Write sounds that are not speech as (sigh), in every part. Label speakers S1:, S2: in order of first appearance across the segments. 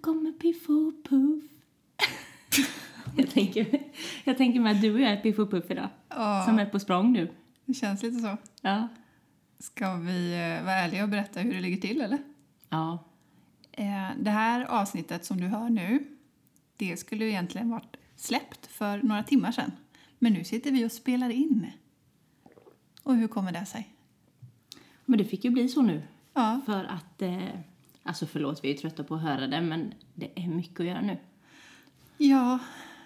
S1: kommer Piff och Puff. (laughs) jag, tänker, jag tänker mig att du och jag är Piff och Puff idag.
S2: Ja,
S1: Som är på språng nu.
S2: det känns lite så.
S1: Ja.
S2: Ska vi eh, vara ärliga och berätta hur det ligger till eller?
S1: Ja.
S2: Eh, Det här avsnittet som du hör nu, det skulle ju egentligen varit släppt för några timmar sedan. Men nu sitter vi och spelar in. Och hur kommer det sig?
S1: Men det fick ju bli så nu.
S2: Ja,
S1: För att, eh, alltså förlåt, vi är ju trötta på att höra det, men det är mycket att göra nu.
S2: ja,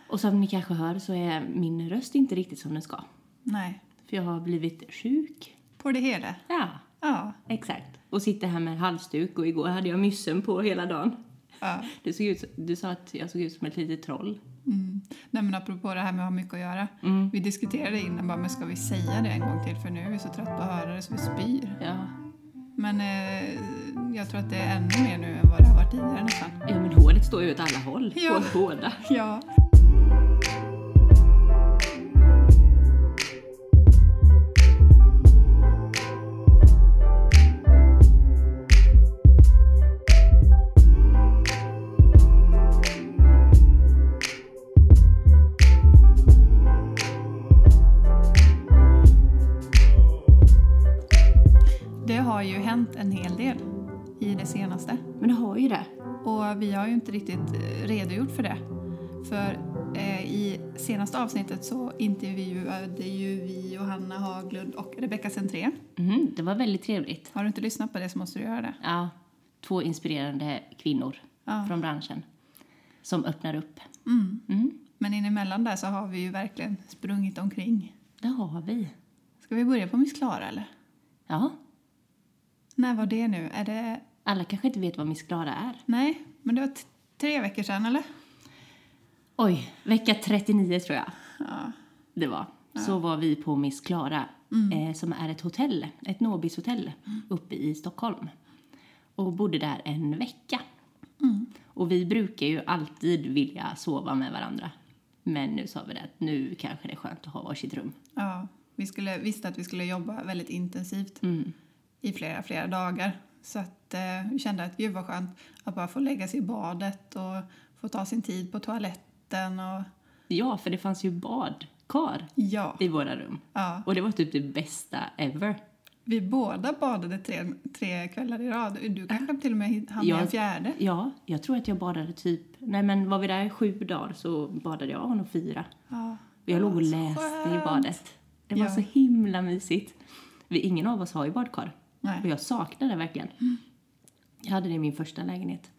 S1: Och som ni kanske hör så är min röst inte riktigt som den ska.
S2: nej,
S1: För jag har blivit sjuk.
S2: på det hela.
S1: Ja,
S2: Ja,
S1: exakt. Och sitter här med halsduk och igår hade jag myssen på hela dagen.
S2: ja.
S1: Du, såg ut, du sa att jag såg ut som ett litet troll.
S2: Mm. Nej men apropå det här med att ha mycket att göra. Vi diskuterade innan bara, men ska vi säga det en gång till för nu är vi så trötta på att höra det så vi spyr.
S1: Ja,
S2: Men eh, jag tror att det är ännu mer nu än vad det har varit tidigare nästan.
S1: ja men håret står ju åt alla håll.
S2: Ja.
S1: På båda.
S2: Ja. Det har ju hänt en hel del i det senaste.
S1: Men det har ju det.
S2: Och vi har ju inte riktigt eh, redogjort för det. För eh, i senaste avsnittet så intervjuade ju vi Johanna Haglund och Rebecca Centré.
S1: Mhm, det var väldigt trevligt.
S2: Har du inte lyssnat på det så måste du göra det.
S1: Ja, två inspirerande kvinnor
S2: Ja.
S1: från branschen som öppnar upp.
S2: Mm.
S1: Mm,
S2: Men inemellan där så har vi ju verkligen sprungit omkring.
S1: det har vi.
S2: Ska vi börja på Miss Klara eller?
S1: Ja,
S2: När var det nu? Är det...
S1: alla kanske inte vet vad Miss Klara är.
S2: Nej, men det var t- tre veckor sedan eller?
S1: Oj, vecka 39 tror jag
S2: Ja.
S1: det var. Så var vi på Miss Klara eh, som är ett hotell, ett Nobishotell uppe i Stockholm. Och bodde där en vecka. Och vi brukar ju alltid vilja sova med varandra. Men nu sa vi det att nu kanske det är skönt att ha varsitt rum.
S2: ja. Vi skulle, visste att vi skulle jobba väldigt intensivt.
S1: Mm.
S2: i flera, flera dagar. Så att eh, vi kände att gud vad skönt att bara få lägga sig i badet och få ta sin tid på toaletten och
S1: Ja, för det fanns ju badkar
S2: ja.
S1: i våra rum.
S2: ja.
S1: Och det var typ det bästa ever.
S2: Vi båda badade tre, tre kvällar i rad. Du kanske till och med hann med
S1: Jag-
S2: en fjärde.
S1: Ja, jag tror att jag badade typ... Nej men var vi där i sju dagar så badade jag nog fyra.
S2: Ja.
S1: Och jag låg och
S2: Så
S1: läste i
S2: skönt.
S1: badet. Det var
S2: Ja.
S1: så himla mysigt. Vi, ingen av oss har ju badkar. Och
S2: Nej, Mm.
S1: jag saknar det verkligen. Jag hade det i min första lägenhet.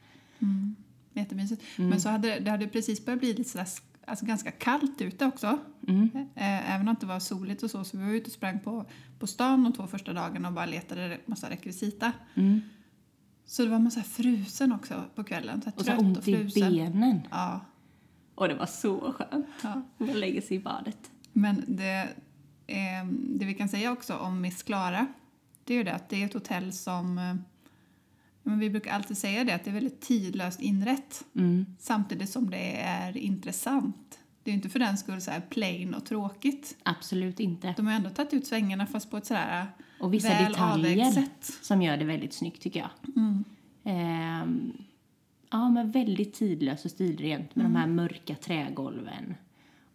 S2: jättemysigt.
S1: Mm.
S2: Men så hade det, det hade precis börjat bli lite sådär, alltså ganska kallt ute också.
S1: Mm.
S2: Eh, Även om det inte var soligt och så, så vi var ute och sprang på, på stan de två första dagarna och bara letade massa rekvisita.
S1: Mm.
S2: Så det var man så här frusen också på kvällen. Så här
S1: Och så
S2: trött och
S1: ont i
S2: frusen.
S1: benen.
S2: Ja,
S1: Och det var så skönt.
S2: ja.
S1: Man lägger sig i badet.
S2: Men det, eh, det vi kan säga också om Miss Klara, det är ju det att det är ett hotell som... Eh, men vi brukar alltid säga det, att det är väldigt tidlöst inrätt.
S1: Mm.
S2: Samtidigt som det är intressant. Det är ju inte för den skull så här plain och tråkigt.
S1: Absolut inte.
S2: De har ju ändå tagit ut svängarna fast på ett sådär
S1: Och vissa
S2: väl
S1: detaljer
S2: avvägt sätt. Mm.
S1: som gör det väldigt snyggt tycker jag. Ehm, ja, men väldigt tidlös och stilrent med de här mörka trägolven.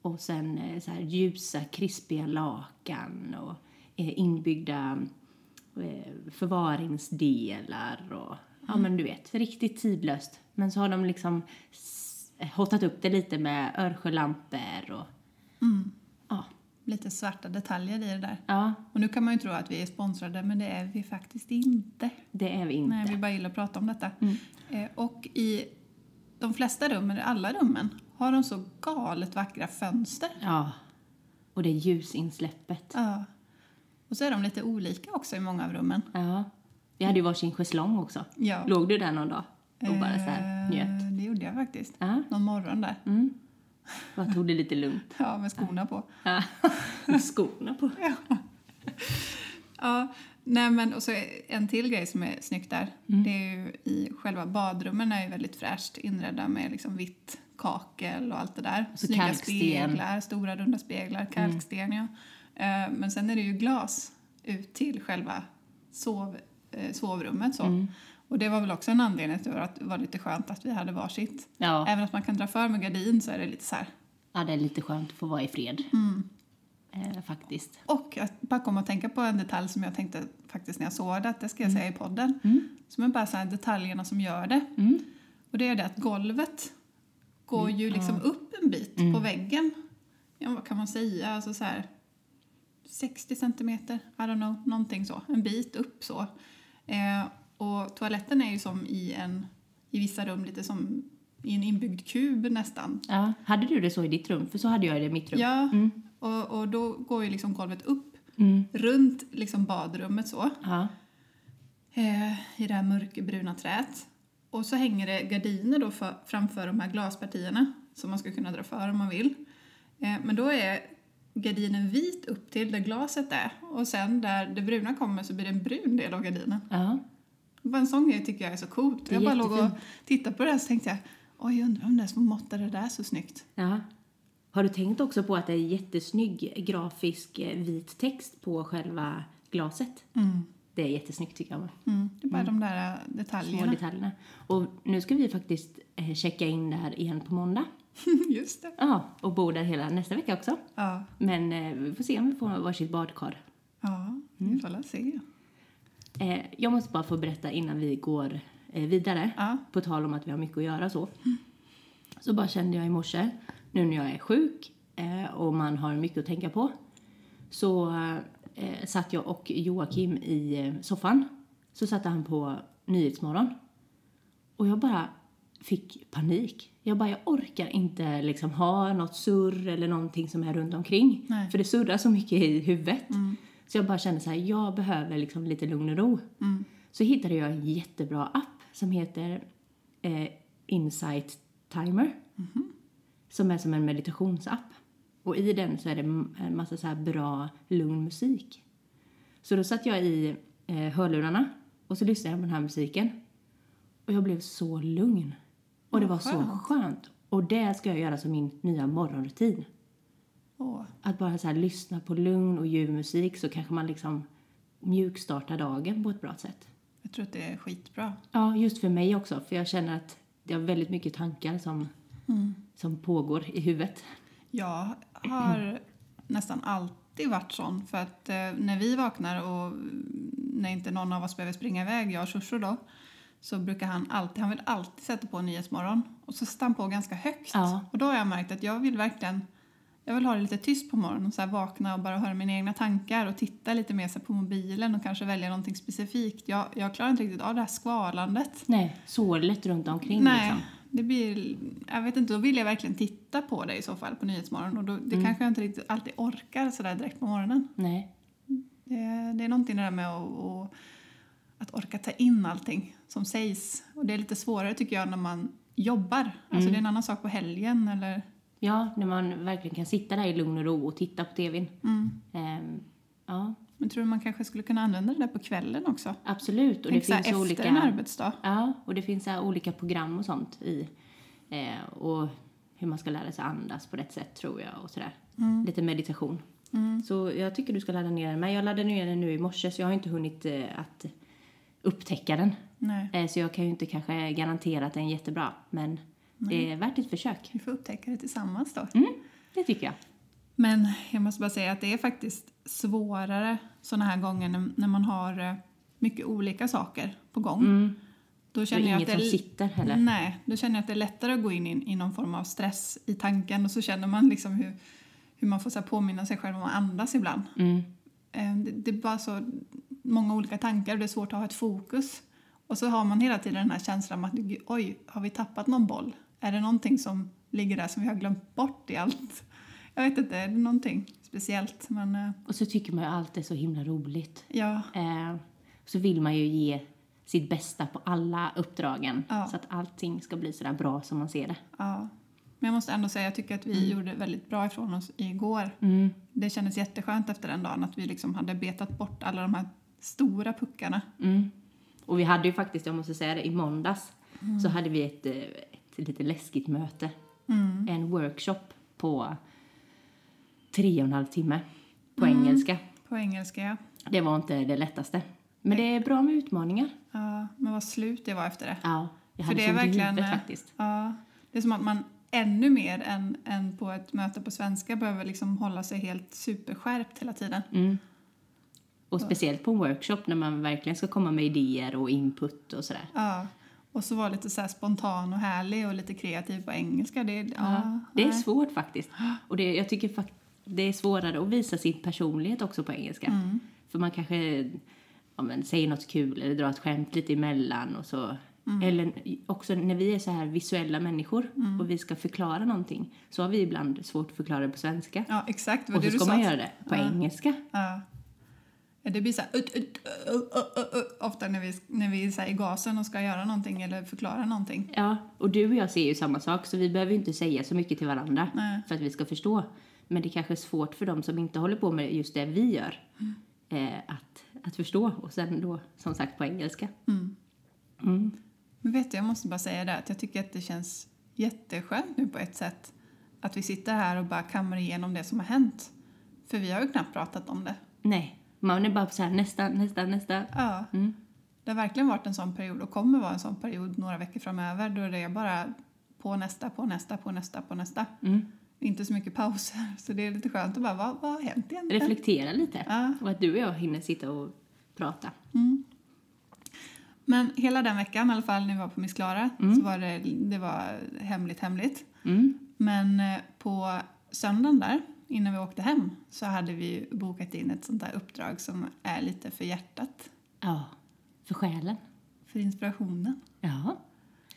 S1: Och sen eh, så här ljusa, krispiga lakan och eh, inbyggda eh, förvaringsdelar och ja, men du vet, riktigt tidlöst. Men så har de liksom s- hottat upp det lite med örskölampor och ja,
S2: Lite svarta detaljer i det där.
S1: ja,
S2: Och nu kan man ju tro att vi är sponsrade, men det är vi faktiskt inte.
S1: det är vi inte.
S2: Nej, vi bara gillar att prata om detta.
S1: Mm.
S2: Eh, och i de flesta rummen, eller alla rummen, har de så galet vackra fönster.
S1: Ja. Och det ljusinsläppet.
S2: Ja. Och så är de lite olika också i många av rummen.
S1: Ja. Vi hade ju varsin schäslong också.
S2: Ja.
S1: Låg du där någon dag och bara så här njöt?
S2: Eh, Det gjorde jag faktiskt.
S1: Ja.
S2: Någon morgon där.
S1: Mm. Bara tog det lite lugnt.
S2: Ja, med skorna på. (laughs)
S1: Ja. Med skorna på.
S2: Ja, nej men och så en till grej som är snyggt där.
S1: Mm.
S2: Det är ju i själva badrummen är ju väldigt fräscht inredda med liksom vitt kakel och allt det där.
S1: så
S2: Snygga
S1: kalksten. Mm.
S2: speglar, stora runda speglar, kalksten ja. Eh, Men
S1: Mm.
S2: sen är det ju glas ut till själva sov, eh, sovrummet så. Och det var väl också en anledning till att det var lite skönt att vi hade varsitt.
S1: Ja.
S2: Även att man kan dra för med gardin så är det lite så här.
S1: ja, det är lite skönt att få vara i fred.
S2: Mm.
S1: Eh, faktiskt.
S2: Och jag bara kom att tänka på en detalj som jag tänkte faktiskt när jag såg det, att det ska jag säga i podden. Som är bara så här detaljerna som gör det. Och det är det att golvet går ju liksom upp en bit på väggen. Ja, vad kan man säga? Alltså så här 60 centimeter, I don't know, någonting så. En bit upp så. Eh, och toaletten är ju som i en, i vissa rum lite som i en inbyggd kub nästan.
S1: Ja. Hade du det så i ditt rum? För så hade jag det i mitt rum.
S2: Ja, och, och då går ju liksom golvet upp
S1: Mm.
S2: runt liksom badrummet så.
S1: Ja.
S2: Eh, I det här mörkbruna träet. Och så hänger det gardiner då för, framför de här glaspartierna som man ska kunna dra för om man vill. Eh, men då är gardinen vit upp till där glaset är och sen där det bruna kommer så blir det en brun del av gardinen.
S1: ja.
S2: Bara en sån grej tycker jag är så coolt.
S1: Det är
S2: Jag bara låg och
S1: jättefint.
S2: tittade på det här så tänkte jag oj, undrar om det är som måttade det där så snyggt.
S1: Ja. Har du tänkt också på att det är jättesnygg grafisk eh, vit text på själva glaset? Det är jättesnyggt tycker jag.
S2: Mm. Det är bara de där eh,
S1: Små
S2: detaljerna.
S1: detaljerna. Och nu ska vi faktiskt eh, checka in där igen på måndag.
S2: (laughs) Just det.
S1: Ja, och bo där hela nästa vecka också.
S2: Ja.
S1: Men eh, vi får se om vi får varsitt badkar.
S2: Ja, vi får väl se.
S1: Eh, jag måste bara få berätta innan vi går eh, vidare.
S2: Ja.
S1: På tal om att vi har mycket att göra så. Så bara kände jag i morse, nu när jag är sjuk eh, och man har mycket att tänka på. Så eh, satt jag och Joakim i eh, soffan. Så satte han på Nyhetsmorgon. Och jag bara fick panik. Jag bara, jag orkar inte liksom ha något surr eller någonting som är runt omkring.
S2: Nej.
S1: För det surrar så mycket i huvudet. Så jag bara kände så här, jag behöver liksom lite lugn och ro. Så hittade jag en jättebra app som heter eh, Insight Timer. Som är som en meditationsapp. Och i den så är det m- en massa så här bra lugn musik. Så då satt jag i eh, hörlurarna och så lyssnade jag på den här musiken. Och jag blev så lugn. Och det
S2: Vad
S1: var så skönt. Och det ska jag göra som min nya morgonrutin.
S2: Åh,
S1: Att bara så här lyssna på lugn och ljuv musik så kanske man liksom mjukstartar dagen på ett bra sätt.
S2: jag tror att det är skitbra.
S1: Ja, just för mig också. För jag känner att det har väldigt mycket tankar som, som pågår i huvudet.
S2: Jag har (clears throat) nästan alltid varit sån. För att eh, när vi vaknar och mm, när inte någon av oss behöver springa iväg, jag och Shushu då, så brukar han alltid, han vill alltid sätta på Nyhetsmorgon. Och så sätter han på ganska högt.
S1: Ja.
S2: Och då har jag märkt att jag vill verkligen, jag vill ha det lite tyst på morgonen. Så här vakna och bara höra mina egna tankar och titta lite mer så här på mobilen och kanske välja någonting specifikt. Jag, jag klarar inte riktigt av det här skvalandet.
S1: Nej, sorlet runt omkring
S2: Nej,
S1: liksom.
S2: det blir, jag vet inte, då vill jag verkligen titta på det i så fall på Nyhetsmorgon och då, det
S1: Mm.
S2: kanske jag inte riktigt alltid orkar sådär direkt på morgonen.
S1: Nej.
S2: Det, det är någonting det där med att, att- att orka ta in allting som sägs och det är lite svårare tycker jag när man jobbar. Alltså det
S1: Mm.
S2: är en annan sak på helgen eller
S1: Ja, när man verkligen kan sitta där i lugn och ro och titta på tvn.
S2: Mm.
S1: Ehm, ja,
S2: men tror du man kanske skulle kunna använda det där på kvällen också?
S1: absolut. Och
S2: Tänk
S1: det
S2: så här,
S1: finns
S2: efter
S1: olika...
S2: en arbetsdag.
S1: Ja, och det finns så här olika program och sånt i. Eh, och hur man ska lära sig andas på rätt sätt tror jag och sådär.
S2: Mm.
S1: Lite meditation. Så jag tycker du ska ladda ner den. Men jag laddade ner den nu i morse så jag har inte hunnit eh, att upptäcka den.
S2: Nej,
S1: Eh, så jag kan ju inte kanske garantera att den är jättebra. Men det är värt ett försök.
S2: vi får upptäcka det tillsammans då.
S1: Mm, det tycker jag.
S2: Men jag måste bara säga att det är faktiskt svårare såna här gånger när, när man har eh, mycket olika saker på gång. Då
S1: Mm. Det är
S2: känner jag att
S1: inget
S2: det är,
S1: som sitter heller.
S2: Nej, då känner jag att det är lättare att gå in i, i någon form av stress i tanken och så känner man liksom hur, hur man får så här påminna sig själv om att andas ibland.
S1: Mm.
S2: Eh, Det, det är bara så många olika tankar och det är svårt att ha ett fokus. Och så har man hela tiden den här känslan om att "Gud, oj, har vi tappat någon boll? Är det någonting som ligger där som vi har glömt bort i allt? Jag vet inte, är det någonting speciellt? Men eh,
S1: Och så tycker man ju allt är så himla roligt.
S2: ja,
S1: Eh, så vill man ju ge sitt bästa på alla uppdragen
S2: Ja.
S1: så att allting ska bli sådär bra som man ser det.
S2: ja. Men jag måste ändå säga, jag tycker att vi gjorde väldigt bra ifrån oss igår. Det kändes jätteskönt efter den dagen att vi liksom hade betat bort alla de här stora puckarna.
S1: Mm. Och vi hade ju faktiskt, jag måste säga det, i måndags
S2: Mm.
S1: så hade vi ett, eh, ett lite läskigt möte.
S2: Mm.
S1: En workshop på tre och en halv timme på engelska.
S2: Mm. På engelska, ja.
S1: Det var inte det lättaste. Men det är bra med utmaningar.
S2: Ja, men vad slut det var efter det.
S1: Ja, jag
S2: För
S1: hade det
S2: det är
S1: sånt i
S2: verkligen...
S1: huvudet
S2: eh,
S1: faktiskt.
S2: Ja, det är som att man ännu mer än, än på ett möte på svenska behöver liksom hålla sig helt superskärpt hela tiden.
S1: Och speciellt på en workshop när man verkligen ska komma med idéer och input och sådär.
S2: Ja. Och så vara lite så här spontan och härlig och lite kreativ på engelska. Det, ja,
S1: Det är
S2: nej.
S1: svårt faktiskt. Och det, jag tycker fakt- det är svårare att visa sin personlighet också på engelska.
S2: Mm.
S1: För man kanske ja, men, säger något kul eller drar ett skämt lite emellan och så.
S2: Mm.
S1: Eller också när vi är så här visuella människor och vi ska förklara någonting så har vi ibland svårt att förklara det på svenska.
S2: Ja, exakt. det var
S1: och så
S2: det
S1: ska
S2: du
S1: man
S2: sa.
S1: göra det på
S2: Ja.
S1: engelska.
S2: Ja. Ja, Det blir så här, ut, ut, ö, ö, ö, ö, ofta när vi, när vi är så här i gasen och ska göra någonting eller förklara någonting.
S1: Ja, och du och jag ser ju samma sak så vi behöver ju inte säga så mycket till varandra
S2: Nej.
S1: för att vi ska förstå. Men det kanske är svårt för dem som inte håller på med just det vi gör eh, att, att förstå. Och sen då, som sagt, på engelska.
S2: Men vet du, jag måste bara säga det att jag tycker att det känns jätteskönt nu på ett sätt att vi sitter här och bara kammar igenom det som har hänt. För vi har ju knappt pratat om det.
S1: Nej, man är bara så här nästa, nästa, nästa.
S2: Ja. Det har verkligen varit en sån period och kommer vara en sån period några veckor framöver då det är bara på nästa, på nästa, på nästa, på nästa. Inte så mycket pauser. (laughs) Så det är lite skönt att bara, vad, vad har hänt egentligen?
S1: Reflektera lite.
S2: Ja.
S1: Och att du och jag hinner sitta och prata.
S2: Men hela den veckan i alla fall när vi var på Miss Klara så var det, det var hemligt hemligt.
S1: Mm.
S2: Men eh, på söndagen där innan vi åkte hem så hade vi ju bokat in ett sånt där uppdrag som är lite för hjärtat.
S1: Ja, för själen.
S2: För inspirationen.
S1: Ja.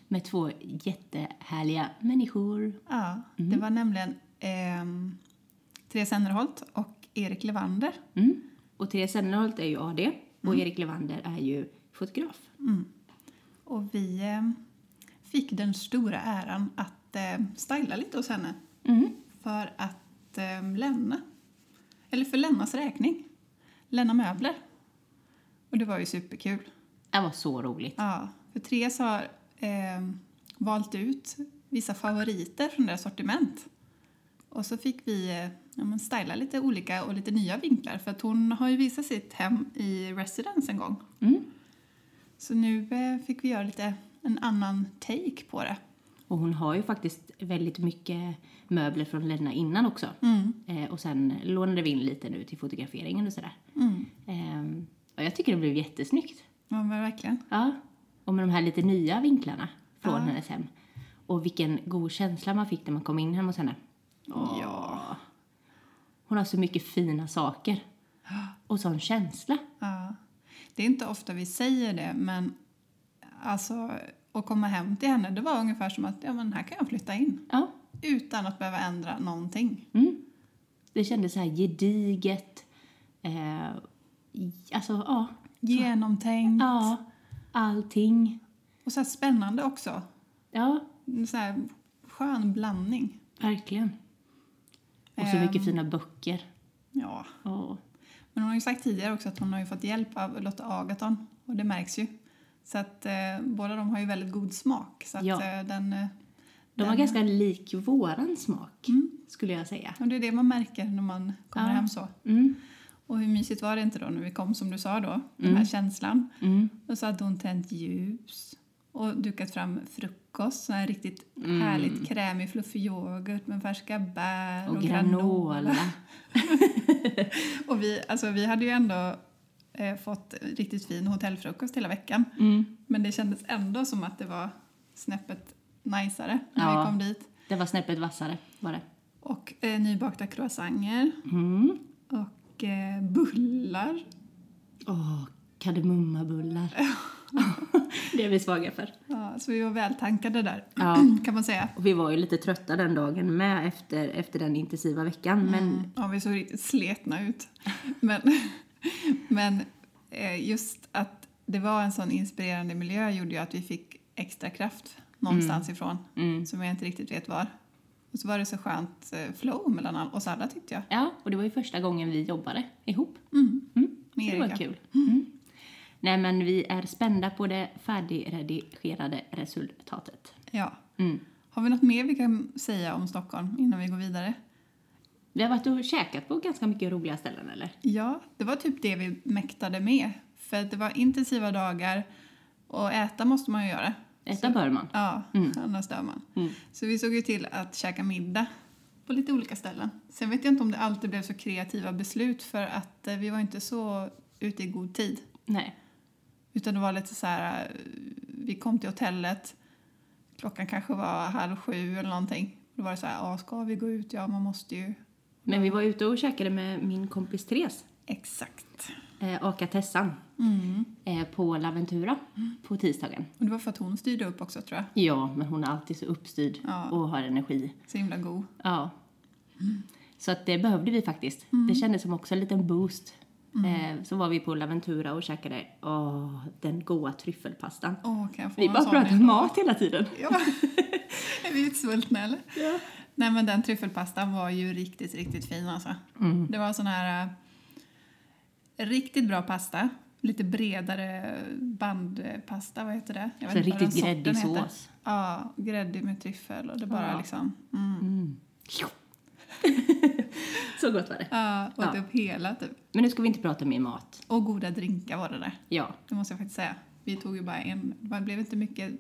S1: Med två jättehärliga människor.
S2: Ja, det var nämligen ehm, Therese Ennerholt och Erik Levander.
S1: Mm. Och Therese Ennerholt är ju AD och Erik Levander är ju fotograf.
S2: Och vi eh, fick den stora äran att eh, styla lite hos henne
S1: Mm.
S2: för att eh, lämna, eller för Lennas räkning, Lenna möbler. Och det var ju superkul.
S1: Det var så roligt.
S2: Ja, för Therese har eh, valt ut vissa favoriter från deras sortiment. Och så fick vi eh, ja, men styla lite olika och lite nya vinklar för att hon har ju visat sitt hem i Residence en gång.
S1: Mm.
S2: Så nu eh, fick vi göra lite en annan take på det.
S1: Och hon har ju faktiskt väldigt mycket möbler från Lena innan också.
S2: Mm,
S1: Eh, och sen lånade vi in lite nu till fotograferingen och sådär. Ehm, och jag tycker det blev jättesnyggt.
S2: mm. Ja, men verkligen.
S1: Ja. Och med de här lite nya vinklarna från hennes hem. Och vilken god känsla man fick när man kom in hem hos henne.
S2: Ja.
S1: Hon har så mycket fina saker. Och sån känsla.
S2: Ja. Det är inte ofta vi säger det, men alltså att komma hem till henne, det var ungefär som att ja, men här kan jag flytta in
S1: Ja.
S2: utan att behöva ändra någonting.
S1: Det kändes så här gediget. Eh, alltså, ja.
S2: Genomtänkt
S1: Ja. Allting.
S2: och så här spännande också.
S1: Ja,
S2: En Så här skön blandning.
S1: Verkligen. Och så mycket fina böcker.
S2: Ja.
S1: Ja.
S2: Men hon har ju sagt tidigare också att hon har ju fått hjälp av Lotta Agaton och det märks ju. Så att eh, båda de har ju väldigt god smak. Så att
S1: Ja.
S2: eh, den... Eh,
S1: De var ganska lik våran smak, skulle jag säga.
S2: och det är det man märker när man kommer hem så.
S1: Mm.
S2: Och hur mysigt var det inte då när vi kom som du sa då, den
S1: Mm.
S2: här känslan. Och så hade hon tänt ljus och dukat fram frukost, sån här riktigt
S1: Mm.
S2: härligt krämig fluffig yoghurt med färska bär
S1: Och granola. (laughs)
S2: Och vi, alltså, vi hade ju ändå eh, fått riktigt fin hotellfrukost hela veckan.
S1: Mm.
S2: Men det kändes ändå som att det var snäppet najsare när
S1: Ja.
S2: vi kom dit.
S1: Det var snäppet vassare, var det.
S2: Och eh, nybakta croissanter
S1: Mm.
S2: och eh, bullar.
S1: Åh, kardemummabullar. (laughs) det är vi svaga för.
S2: Ja, så vi var vältankade där,
S1: Ja.
S2: kan man säga.
S1: Och vi var ju lite trötta den dagen med efter, efter den intensiva veckan. Men
S2: Mm. Ja, vi såg riktigt sletna ut. Men, (laughs) men eh, just att det var en sån inspirerande miljö gjorde ju att vi fick extra kraft någonstans ifrån som jag inte riktigt vet var. Och så var det så skönt eh, flow mellan all- oss alla tyckte jag.
S1: ja, och det var ju första gången vi jobbade ihop.
S2: Med
S1: Det var
S2: Erika.
S1: kul. Mm. Nej, men vi är spända på det färdigredigerade resultatet.
S2: Ja.
S1: Mm.
S2: Har vi något mer vi kan säga om Stockholm innan vi går vidare?
S1: Vi har varit och käkat på ganska mycket roliga ställen, eller?
S2: Ja, det var typ det vi mäktade med. För det var intensiva dagar och äta måste man ju göra.
S1: Äta bör man.
S2: Ja,
S1: Mm.
S2: annars dör man. Så vi såg ju till att käka middag på lite olika ställen. Sen vet jag inte om det alltid blev så kreativa beslut för att eh, vi var inte så ute i god tid.
S1: Nej.
S2: Utan det var lite så här, eh, vi kom till hotellet, klockan kanske var halv sju eller någonting. Då var det så här, ja ska vi gå ut? Ja man måste ju.
S1: Men vi var ute och käkade med min kompis Therese,
S2: Exakt.
S1: eh, Aka Tessan, eh, på Laventura på tisdagen.
S2: Och det var för att hon styrde upp också tror jag.
S1: Ja, men hon är alltid så uppstyrd
S2: Ja.
S1: och har energi.
S2: Så himla god.
S1: Ja. Så att det behövde vi faktiskt.
S2: Mm.
S1: Det kändes som också en liten boost. Eh, så var vi på Laventura och käkade åh, den goda tryffelpastan.
S2: Åh, kan jag få
S1: Vi
S2: en
S1: bara
S2: sån
S1: pratade
S2: nu?
S1: mat hela tiden.
S2: Ja. (laughs) Är vi utsvultna eller? Nej men den tryffelpastan var ju riktigt, riktigt fin alltså.
S1: Mm.
S2: Det var sån här eh, riktigt bra pasta. Lite bredare bandpasta, vad heter det? Jag
S1: Så
S2: vet inte vad
S1: riktigt
S2: den
S1: gräddig
S2: sorten heter.
S1: sås. (laughs)
S2: Ja, gräddig med tryffel och det bara
S1: Ja.
S2: liksom... Mm.
S1: så gott var det.
S2: Ja, åt
S1: Ja.
S2: upp hela typ.
S1: Men nu ska vi inte prata mer mat.
S2: Och goda drinkar var det där.
S1: Ja.
S2: Det måste jag faktiskt säga. Vi tog ju bara en. Det blev inte mycket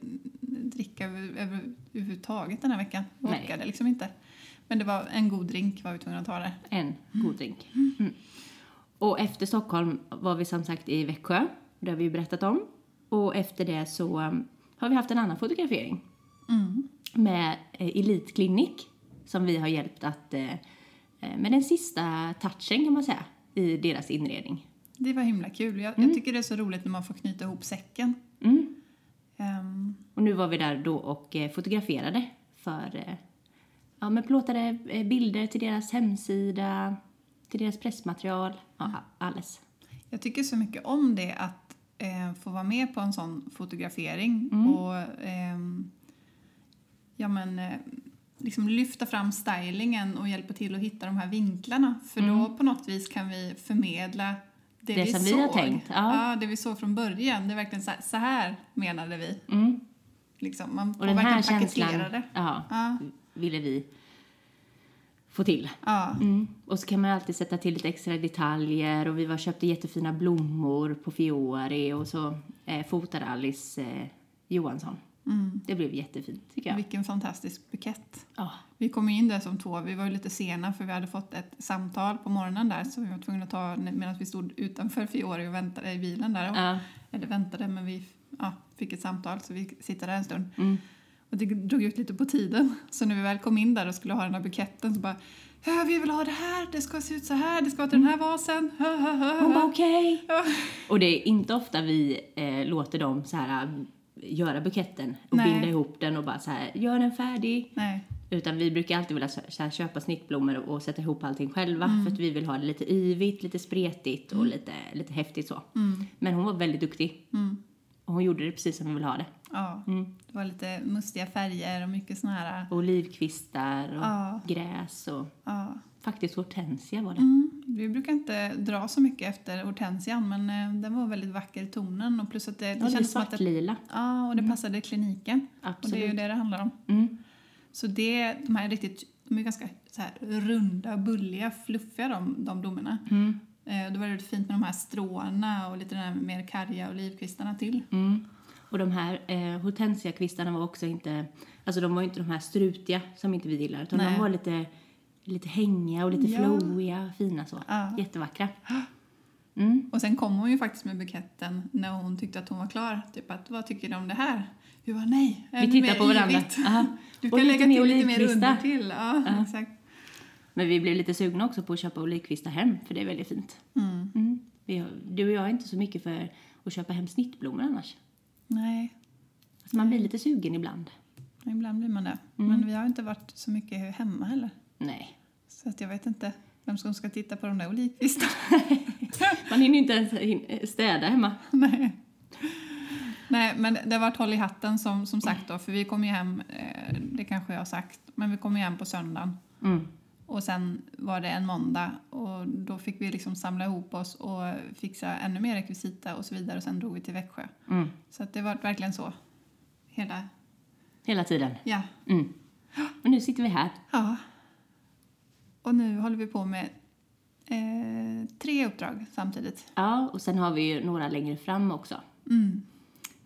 S2: dricka över- över- överhuvudtaget den här veckan. Vi
S1: Nej.
S2: orkade liksom inte. Men det var en god drink var vi tvungna att ta där.
S1: En god drink. Mm. Och efter Stockholm var vi som sagt i Växjö, det har vi ju berättat om. Och efter det så um, har vi haft en annan fotografering Mm. med eh, Elitklinik som vi har hjälpt att eh, eh, med den sista touchen kan man säga i deras inredning.
S2: Det var himla kul. Jag, jag tycker det är så roligt när man får knyta ihop säcken.
S1: Mm.
S2: Ehm,
S1: Och nu var vi där då och eh, fotograferade för eh, ja, men plåtade eh, bilder till deras hemsida, till deras pressmaterial, ja, alles.
S2: jag tycker så mycket om det att eh, få vara med på en sån fotografering
S1: Mm.
S2: och ehm, ja, men, eh, liksom lyfta fram stylingen och hjälpa till att hitta de här vinklarna. För då på något vis kan vi förmedla det,
S1: Mm. Det
S2: vi
S1: som
S2: såg.
S1: vi har tänkt, ja.
S2: det vi såg från början. Det är verkligen så här, så här menade vi.
S1: Mm.
S2: Liksom, man
S1: Och
S2: får
S1: den här
S2: verkligen
S1: känslan
S2: paketera det.
S1: ja,
S2: Ja.
S1: ville vi få till.
S2: Ja.
S1: Mm. Och så kan man alltid sätta till lite extra detaljer och vi var köpte jättefina blommor på Fiori och så eh, fotade Alice eh, Johansson. Det blev jättefint tycker jag.
S2: Mm. Vilken fantastisk bukett.
S1: Ja.
S2: Vi kom in där som två. Vi var ju lite sena för vi hade fått ett samtal på morgonen där som vi var tvungna att ta medan vi stod utanför Fiore och väntade i bilen där.
S1: Ja.
S2: Eller väntade, men vi ja, fick ett samtal så vi sitter där en stund.
S1: Mm.
S2: Och det drog ut lite på tiden. Så när vi väl kom in där och skulle ha den här buketten så bara "Ja, vi vill ha det här, det ska se ut så här, det ska vara till den här vasen. Hö, hö, hö, hö."
S1: Hon bara okej.
S2: Ja.
S1: Och det är inte ofta vi eh, låter dem så här äh, göra buketten och
S2: Nej.
S1: binda ihop den och bara så här gör den färdig.
S2: Nej,
S1: Utan vi brukar alltid vilja så så här, köpa snittblommor och, och sätta ihop allting själva
S2: Mm.
S1: för att vi vill ha det lite yvigt, lite spretigt och lite, lite häftigt så.
S2: Mm.
S1: Men hon var väldigt duktig. Och hon gjorde det precis som vi ville ha det.
S2: ja.
S1: Mm.
S2: Det var lite mustiga färger och mycket såna här...
S1: Olivkvistar och
S2: Ja.
S1: gräs och
S2: Ja.
S1: faktiskt hortensia var det.
S2: Mm, vi brukar inte dra så mycket efter hortensian men eh, den var väldigt vacker i tonen och plus att det,
S1: Det,
S2: det
S1: det
S2: kändes som att det,
S1: svartlila.
S2: ja, och det passade kliniken. Och det är ju
S1: Mm. Absolut.
S2: det det handlar om.
S1: Mm.
S2: Så det, de här är riktigt, de är ganska så här runda, bulliga, fluffiga de, de blommorna.
S1: Mm.
S2: Eh, Då var det väldigt fint med de här stråna och lite den här mer karga olivkvistarna till.
S1: Mm. Och de här eh, hortensiakvistarna var också inte, alltså de var ju inte de här strutiga som inte vi gillar utan
S2: Nej.
S1: de var lite, lite hängiga och lite
S2: Ja.
S1: flowiga, fina så.
S2: Ja.
S1: Jättevackra. Mm.
S2: Och sen kom hon ju faktiskt med buketten när hon tyckte att hon var klar. Typ att, vad tycker du om det här? Vi var nej,
S1: Vi
S2: ännu
S1: tittar
S2: mer
S1: på varandra.
S2: yvigt."
S1: Ja.
S2: (laughs) Du
S1: Och
S2: kan
S1: lite
S2: lägga
S1: mer
S2: till lite mer
S1: olivkvistar.
S2: under till. Ja, exakt.
S1: Men vi blev lite sugna också på att köpa olivkvistar hem, för det är väldigt fint.
S2: Mm.
S1: Mm. Vi har, du och jag är inte så mycket för att köpa hem snittblommor annars.
S2: Nej,
S1: Alltså man blir lite sugen ibland.
S2: ibland blir man det.
S1: Mm.
S2: Men vi har inte varit så mycket hemma heller.
S1: Nej.
S2: Så att jag vet inte vem som ska titta på de där olivkvistarna.
S1: (laughs)
S2: (laughs)
S1: Man hinner ju inte ens hin- städa hemma.
S2: Nej. Nej, men det har varit håll i hatten som, som sagt då. För vi kom ju hem, eh, det kanske jag har sagt, men vi kom ju hem på söndagen.
S1: Mm.
S2: Och sen var det en måndag och då fick vi liksom samla ihop oss och fixa ännu mer rekvisita och så vidare. Och sen drog vi till Växjö.
S1: Mm.
S2: Så att det var verkligen så. Hela,
S1: Hela tiden.
S2: ja.
S1: Mm. Och nu sitter vi här.
S2: Ja. Och nu håller vi på med eh, tre uppdrag samtidigt.
S1: Ja, och sen har vi ju några längre fram också.
S2: Mm.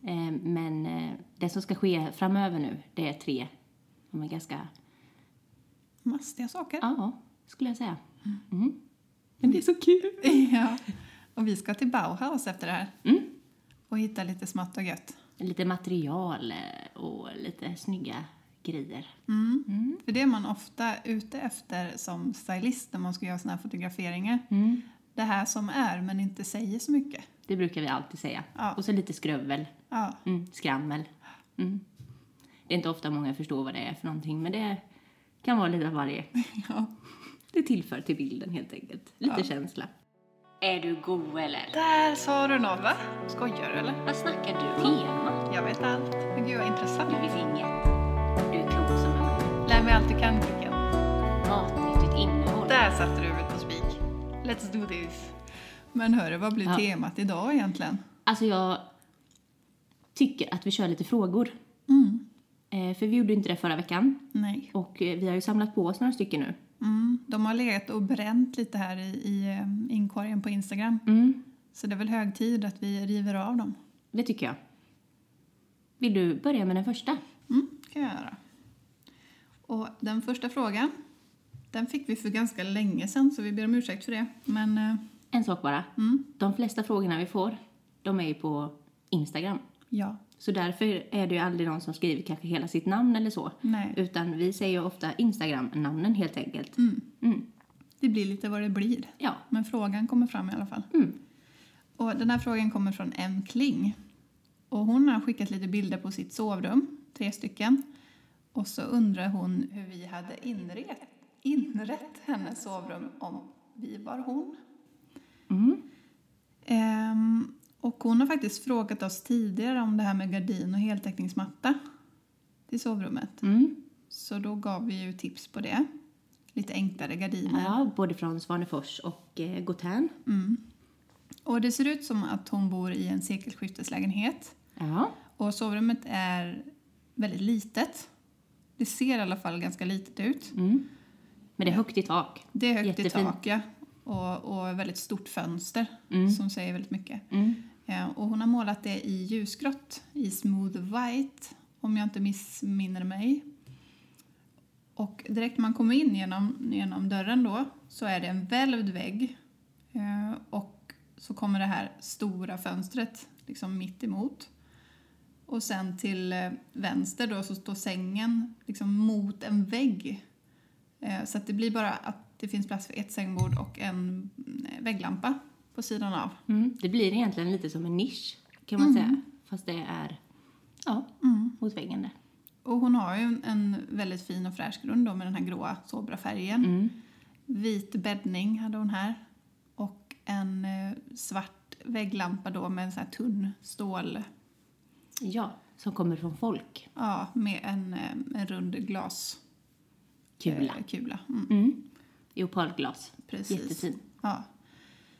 S1: Eh, Men eh, det som ska ske framöver nu, det är tre de är ganska,
S2: Mastiga saker. (laughs)
S1: ja, skulle jag säga. Mm. Men det är så kul!
S2: Ja. Och vi ska till Bauhaus efter det här.
S1: Mm.
S2: Och hitta lite smått och gött.
S1: Lite material eh, och lite snygga grejer.
S2: Mm. För det är man ofta ute efter som stylist när man ska göra såna här fotograferingar.
S1: Mm.
S2: Det här som är men inte säger så mycket.
S1: Det brukar vi alltid säga.
S2: Ja.
S1: Och så lite skrövel,
S2: Ja.
S1: mm, skrammel. Mm. Det är inte ofta många förstår vad det är för någonting, men det kan vara lite av
S2: (laughs)
S1: varje.
S2: ja.
S1: Det tillför till bilden helt enkelt. Lite
S2: Ja.
S1: känsla. Är du god eller?
S2: Där sa du något va? Skojar du eller?
S1: Vad snackar du? Tema?
S2: Jag vet allt. Men gud vad
S1: Du
S2: intressant.
S1: vet inget. Du är klok som en ko.
S2: Lär mig allt du kan Kicken.
S1: Matnyttigt innehåll.
S2: Där satte du huvudet på spik. Let's do this. Men hörru, vad blir
S1: Ja.
S2: temat idag egentligen?
S1: Alltså jag tycker att vi kör lite frågor.
S2: Mm.
S1: Eh, för vi gjorde inte det förra veckan.
S2: Nej.
S1: Och eh, vi har ju samlat på oss några stycken nu.
S2: Mm. De har legat och bränt lite här i, i eh, inkorgen på Instagram.
S1: Mm,
S2: Så det är väl hög tid att vi river av dem.
S1: det tycker jag. Vill du börja med den första?
S2: Mm, kan jag göra. Och den första frågan, den fick vi för ganska länge sedan så vi ber om ursäkt för det. Men eh,
S1: En sak bara.
S2: Mm.
S1: De flesta frågorna vi får, de är ju på Instagram.
S2: ja,
S1: Så därför är det ju aldrig någon som skriver kanske hela sitt namn eller så.
S2: nej.
S1: Utan vi säger ju ofta Instagram-namnen helt enkelt.
S2: Mm.
S1: Mm.
S2: Det blir lite vad det blir.
S1: Ja.
S2: Men frågan kommer fram i alla fall.
S1: Mm.
S2: Och den här frågan kommer från M. Kling. Och hon har skickat lite bilder på sitt sovrum, tre stycken. Och så undrar hon hur vi hade inrett, inrett hennes sovrum om vi var hon.
S1: Mm.
S2: Ehm, och hon har faktiskt frågat oss tidigare om det här med gardin och heltäckningsmatta till sovrummet.
S1: Mm.
S2: Så då gav vi ju tips på det. Lite enklare gardiner.
S1: Ja, både från Svanefors och eh, Gotern.
S2: Mm. Och det ser ut som att hon bor i en sekelskifteslägenhet.
S1: Ja.
S2: Och sovrummet är väldigt litet. Det ser i alla fall ganska litet ut.
S1: Mm. Men det är högt i tak.
S2: Det är högt i
S1: Jättefint.
S2: tak ja. och, och väldigt stort fönster
S1: Mm.
S2: som säger väldigt mycket. Eh, Och hon har målat det i ljusgrått, i smooth white, om jag inte missminner mig. Och direkt man kommer in genom, genom dörren då så är det en välvd vägg eh, och så kommer det här stora fönstret liksom mitt emot. Och sen till eh, vänster då så står sängen liksom mot en vägg. Eh, Så att det blir bara att det finns plats för ett sängbord och en eh, vägglampa på sidan av.
S1: Mm. Det blir egentligen lite som en nisch kan
S2: Mm.
S1: man säga. Fast det är ja, mot väggen där.
S2: Och hon har ju en, en väldigt fin och fräsch grund då med den här gråa sobra färgen.
S1: Mm.
S2: Vit bäddning hade hon här. Och en eh, svart vägglampa då med en sån här tunn stål,
S1: Ja, som kommer från folk.
S2: ja, med en, eh, en rund glas
S1: Kula.
S2: eh, kula. Mm,
S1: Mm. I opalglas.
S2: precis.
S1: Jättefin.
S2: Ja.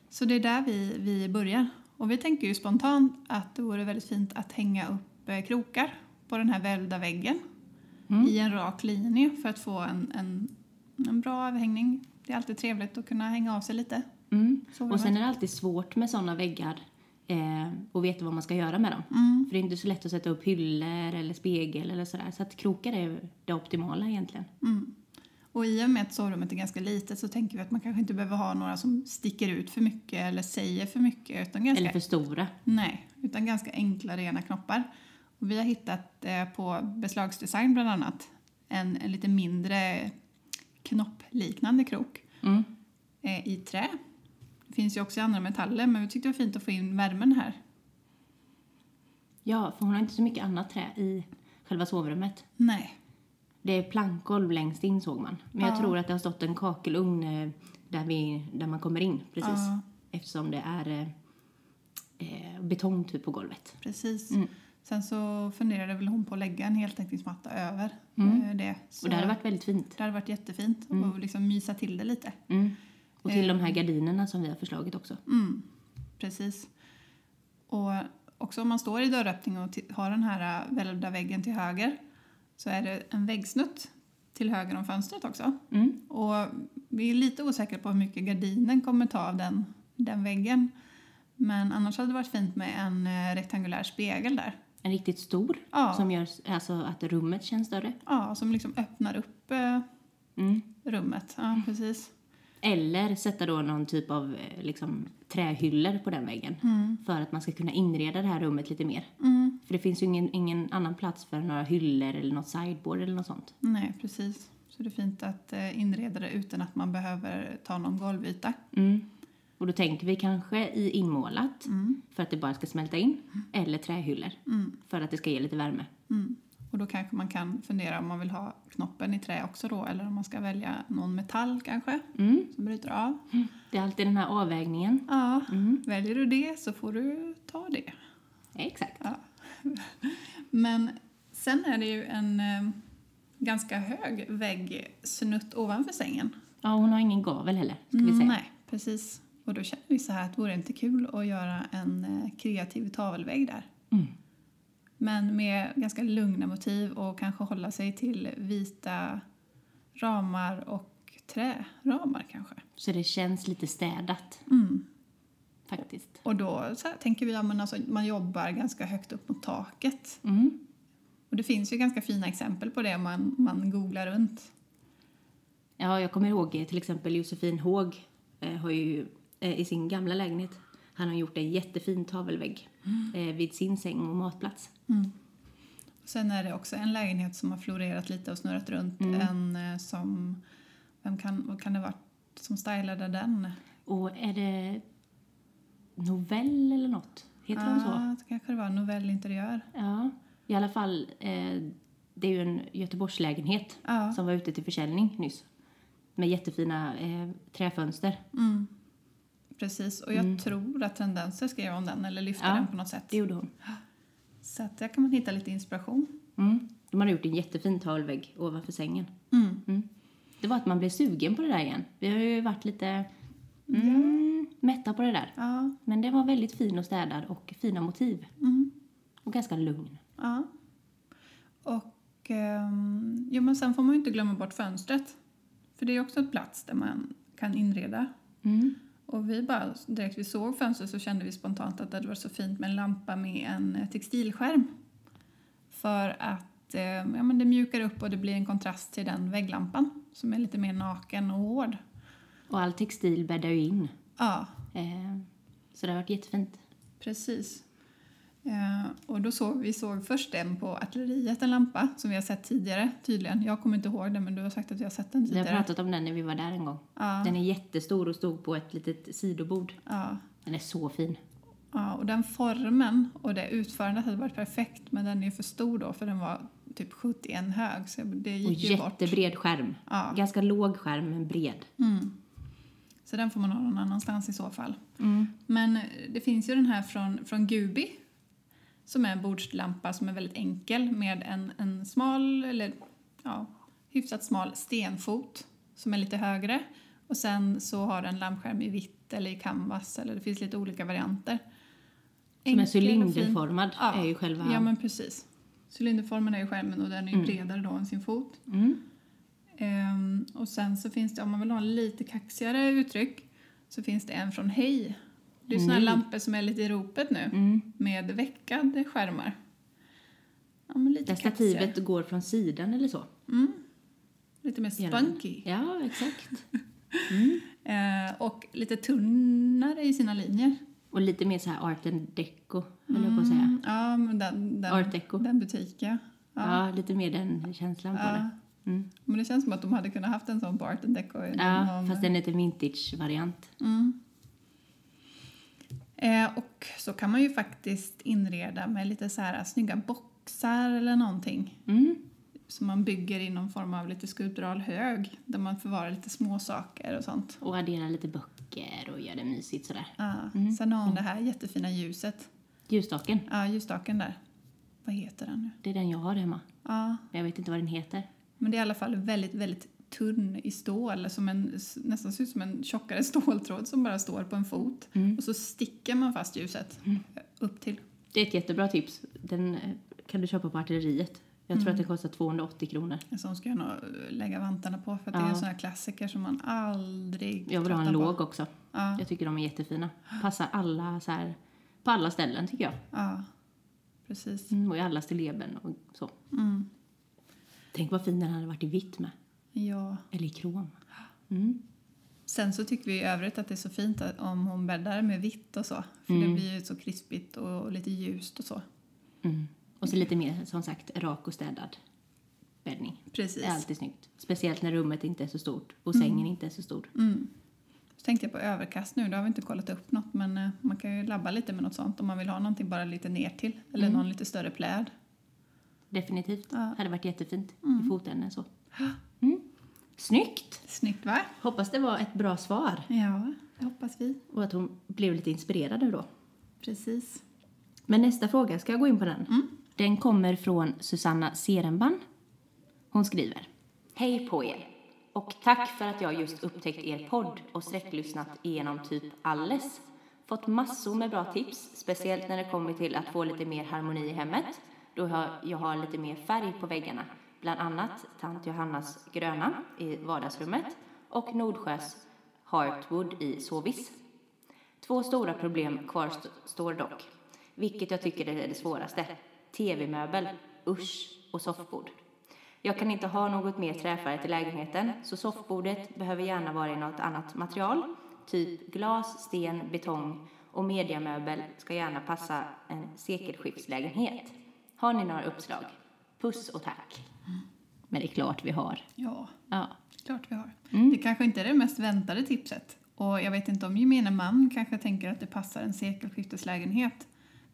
S2: Så det är där vi, vi börjar. Och vi tänker ju spontant att det vore väldigt fint att hänga upp eh, krokar på den här välvda väggen
S1: Mm.
S2: i en rak linje för att få en, en, en bra överhängning. Det är alltid trevligt att kunna hänga av sig lite.
S1: Mm.
S2: Så
S1: Och sen är det alltid svårt med sådana väggar eh, och veta vad man ska göra med dem.
S2: Mm.
S1: För det är inte så lätt att sätta upp hyllor eller spegel eller sådär. Så att krokar är det optimala egentligen.
S2: Mm. Och i och med att sovrummet är ganska litet så tänker vi att man kanske inte behöver ha några som sticker ut för mycket eller säger för mycket utan ganska
S1: Eller för stora.
S2: Nej, utan ganska enkla rena knoppar. Och vi har hittat eh, på beslagsdesign bland annat en, en lite mindre knoppliknande krok
S1: Mm.
S2: eh, i trä. Det finns ju också i andra metaller men vi tyckte det var fint att få in värmen här.
S1: Ja, för hon har inte så mycket annat trä i själva sovrummet.
S2: Nej.
S1: Det är plankgolv längst in såg man. Men jag
S2: Ja.
S1: tror att det har stått en kakelugn eh, där, vi, där man kommer in precis.
S2: Ja,
S1: Eftersom det är eh, eh, betong typ på golvet.
S2: precis.
S1: Mm.
S2: Sen så funderade väl hon på att lägga en heltäckningsmatta över
S1: Mm.
S2: eh, det. Så
S1: Och det hade varit Mm. väldigt fint.
S2: det hade varit jättefint och liksom mysa till det lite.
S1: Mm. Och till de här gardinerna som vi har förslagit också.
S2: Mm, precis. Och också om man står i dörröppningen och ti- har den här äh, välvda väggen till höger så är det en väggsnutt till höger om fönstret också.
S1: Mm.
S2: Och vi är lite osäkra på hur mycket gardinen kommer ta av den, den väggen. Men annars hade det varit fint med en eh, rektangulär spegel där.
S1: En riktigt stor
S2: Ja.
S1: som gör s- alltså, att rummet känns större.
S2: Ja, som liksom öppnar upp eh,
S1: Mm.
S2: rummet. Ja, precis.
S1: Eller sätta då någon typ av eh, liksom, trähyllor på den väggen. För att man ska kunna inreda det här rummet lite mer.
S2: Mm,
S1: För det finns ju ingen, ingen annan plats för några hyllor eller något sideboard eller något sånt.
S2: nej, precis. Så det är fint att eh, inreda det utan att man behöver ta någon golvyta.
S1: Mm. Och då tänker vi kanske i inmålat för att det bara ska smälta in. Eller trähyllor för att det ska ge lite värme.
S2: Mm. Och då kanske man kan fundera om man vill ha knoppen i trä också då eller om man ska välja någon metall kanske
S1: Mm.
S2: som bryter av.
S1: Det är alltid den här avvägningen.
S2: Ja, väljer du det så får du ta det.
S1: Exakt.
S2: Ja. Men sen är det ju en eh, ganska hög vägg snutt ovanför sängen.
S1: Ja, hon har ingen gavel heller, ska vi säga.
S2: Mm, nej, precis. Och då känner vi så här att vore det inte kul att göra en eh, kreativ tavelvägg där?
S1: Mm.
S2: Men med ganska lugna motiv och kanske hålla sig till vita ramar och träramar kanske.
S1: Så det känns lite städat
S2: Mm.
S1: faktiskt.
S2: Och då så här, tänker vi att man, alltså, man jobbar ganska högt upp mot taket.
S1: Mm.
S2: Och det finns ju ganska fina exempel på det om man, man googlar runt.
S1: Ja, jag kommer ihåg eh, till exempel Josefin Håg eh, har ju eh, i sin gamla lägenhet, han har gjort en jättefin tavelvägg eh, vid sin säng och matplats.
S2: Och sen är det också en lägenhet som har florerat lite och snurrat runt.
S1: Mm.
S2: En eh, som, vem kan, vad kan det varit som stylade den?
S1: Och är det novell eller något? Heter de så?
S2: Ah, det kanske det var Novell Interiör.
S1: Ja. I alla fall, eh, det är ju en Göteborgslägenhet
S2: Ja.
S1: som var ute till försäljning nyss. Med jättefina eh, träfönster.
S2: Mm. Precis, och jag tror att Tendenser skrev om den eller lyfte
S1: Mm. Ja.
S2: den på något sätt.
S1: Det gjorde hon.
S2: Så att där kan man hitta lite inspiration.
S1: Mm. De hade gjort en jättefin talvägg ovanför sängen.
S2: Mm.
S1: Mm. Det var att man blev sugen på det där igen. Vi har ju varit lite mm, mätta på det där.
S2: Ja.
S1: Men den var väldigt fin och städad och fina motiv.
S2: Mm.
S1: Och ganska lugn.
S2: ja. Och ehm, jo, men sen får man ju inte glömma bort fönstret. För det är också en plats där man kan inreda.
S1: Mm.
S2: Och vi bara, direkt vi såg fönstret så kände vi spontant att det hade varit så fint med en lampa med en eh, textilskärm. För att eh, ja, men det mjukar upp och det blir en kontrast till den vägglampan som är lite mer naken och hård.
S1: Och all textil bäddar ju in.
S2: Ja,
S1: Eh, så det har varit jättefint.
S2: Precis. Eh, och då såg vi såg först en på artilleriet, en lampa som vi har sett tidigare tydligen. Jag kommer inte ihåg den men du har sagt att vi har sett den
S1: Vi har
S2: tidigare.
S1: pratat om den när vi var där en gång.
S2: Ja.
S1: Den är jättestor och stod på ett litet sidobord.
S2: Ja,
S1: Den är så fin.
S2: ja, och den formen och det utförandet hade varit perfekt men den är ju för stor då för den var typ 71 hög så det
S1: Och
S2: gick ju bort.
S1: jättebred skärm.
S2: Ja. mm.
S1: Ganska låg skärm, men bred.
S2: Så den får man ha någon annanstans i så fall.
S1: Mm.
S2: Men eh, det finns ju den här från, från Gubi som är en bordslampa som är väldigt enkel med en, en smal, eller ja, hyfsat smal stenfot som är lite högre. Och sen så har den lampskärm i vitt eller i canvas, eller det finns lite olika varianter.
S1: Som är
S2: Enkel och fin.
S1: cylinderformad,
S2: Ja.
S1: är ju själva...
S2: Ja, men precis. Cylinderformen är ju skärmen och den är ju bredare då än sin fot.
S1: Mm.
S2: Ehm, och sen så finns det, om man vill ha en lite kaxigare uttryck, så finns det en från Hej. Det är såna här lampor som är lite i ropet nu,
S1: Mm.
S2: med veckade skärmar. Ja, men lite
S1: Där
S2: kaxigare.
S1: stativet går från sidan eller så.
S2: Lite mer
S1: Gärna.
S2: spunky.
S1: Ja, exakt.
S2: Ehm, och lite tunnare i sina linjer.
S1: Och lite mer så här art and deco, höll jag på att säga.
S2: Mm, ja, men den, den,
S1: Art deco.
S2: den butiken.
S1: Ja. lite mer den känslan på
S2: Ja.
S1: det. Mm.
S2: Men det känns som att de hade kunnat haft en sån på Art and Deco.
S1: Ja,
S2: Någon-
S1: fast en lite vintage-variant.
S2: Mm. Eh, och så kan man ju faktiskt inreda med lite så här snygga boxar eller någonting
S1: Mm.
S2: som man bygger i någon form av lite skulptural hög där man förvarar lite småsaker och sånt.
S1: Och addera lite böcker och göra det mysigt sådär.
S2: Ja. Sen har hon det här jättefina ljuset,
S1: Ljusstaken,
S2: ja ljusstaken där. Vad heter den nu?
S1: det är den jag har hemma.
S2: Ja,
S1: Men jag vet inte vad den heter.
S2: men det är i alla fall väldigt, väldigt tunn i stål, som en, nästan ser ut som en tjockare (laughs) ståltråd som bara står på en fot. Och så sticker man fast ljuset upp till.
S1: Det är ett jättebra tips. Den eh, kan du köpa på artilleriet. Jag
S2: Mm.
S1: tror att det kostar 280 kronor.
S2: En sån ska jag nog eh, lägga vantarna på för att det är
S1: Ja.
S2: en sån här klassiker som man aldrig
S1: Jag vill ha en
S2: tröttnar på.
S1: låg också.
S2: Ja,
S1: Jag tycker de är jättefina. Passar alla så här, på alla ställen tycker jag.
S2: ja, precis.
S1: Mm, och i alla stilleben och så.
S2: Mm.
S1: Tänk vad fin den hade varit i vitt med.
S2: Ja.
S1: Eller i krom. Mm.
S2: Sen så tycker vi i övrigt att det är så fint att, om hon bäddar med vitt och så. För det blir ju så krispigt och lite ljust och så.
S1: Mm. Och så lite mer som sagt rak och städad bäddning.
S2: Precis.
S1: Det är alltid snyggt. Speciellt när rummet inte är så stort och sängen inte är så stor.
S2: Mm. Så tänkte jag på överkast nu, då har vi inte kollat upp något men eh, man kan ju labba lite med något sånt om man vill ha någonting bara lite ner till Eller
S1: Mm.
S2: någon lite större pläd.
S1: Definitivt.
S2: Ja.
S1: Hade varit jättefint i fotändan
S2: (gasps)
S1: så. Mm. Snyggt!
S2: Snyggt va?
S1: Hoppas det var ett bra svar
S2: Ja, det hoppas vi.
S1: och att hon blev lite inspirerad nu då.
S2: Precis.
S1: Men nästa fråga, ska jag gå in på den? Den kommer från Susanna Serenban. Hon skriver. Hej på er! Och tack för att jag just upptäckt er podd och sträcklyssnat igenom typ alles. Fått massor med bra tips, speciellt när det kommer till att få lite mer harmoni i hemmet, då har- jag har lite mer färg på väggarna. Bland annat tant Johannas gröna i vardagsrummet och Nordsjös Heartwood i sovis. Två stora problem kvarstår dock, vilket jag tycker är det svåraste. TV-möbel, usch, och soffbord. Jag kan inte ha något mer träfärgat i lägenheten, så soffbordet behöver gärna vara i något annat material, typ glas, sten, betong och mediamöbel ska gärna passa en sekelskiftslägenhet. Har ni några uppslag? Puss och tack. Mm. Men det är klart vi har.
S2: Ja,
S1: Ja.
S2: klart vi har.
S1: Mm.
S2: Det kanske inte är det mest väntade tipset. Och jag vet inte om gemene man kanske tänker att det passar en sekelskifteslägenhet.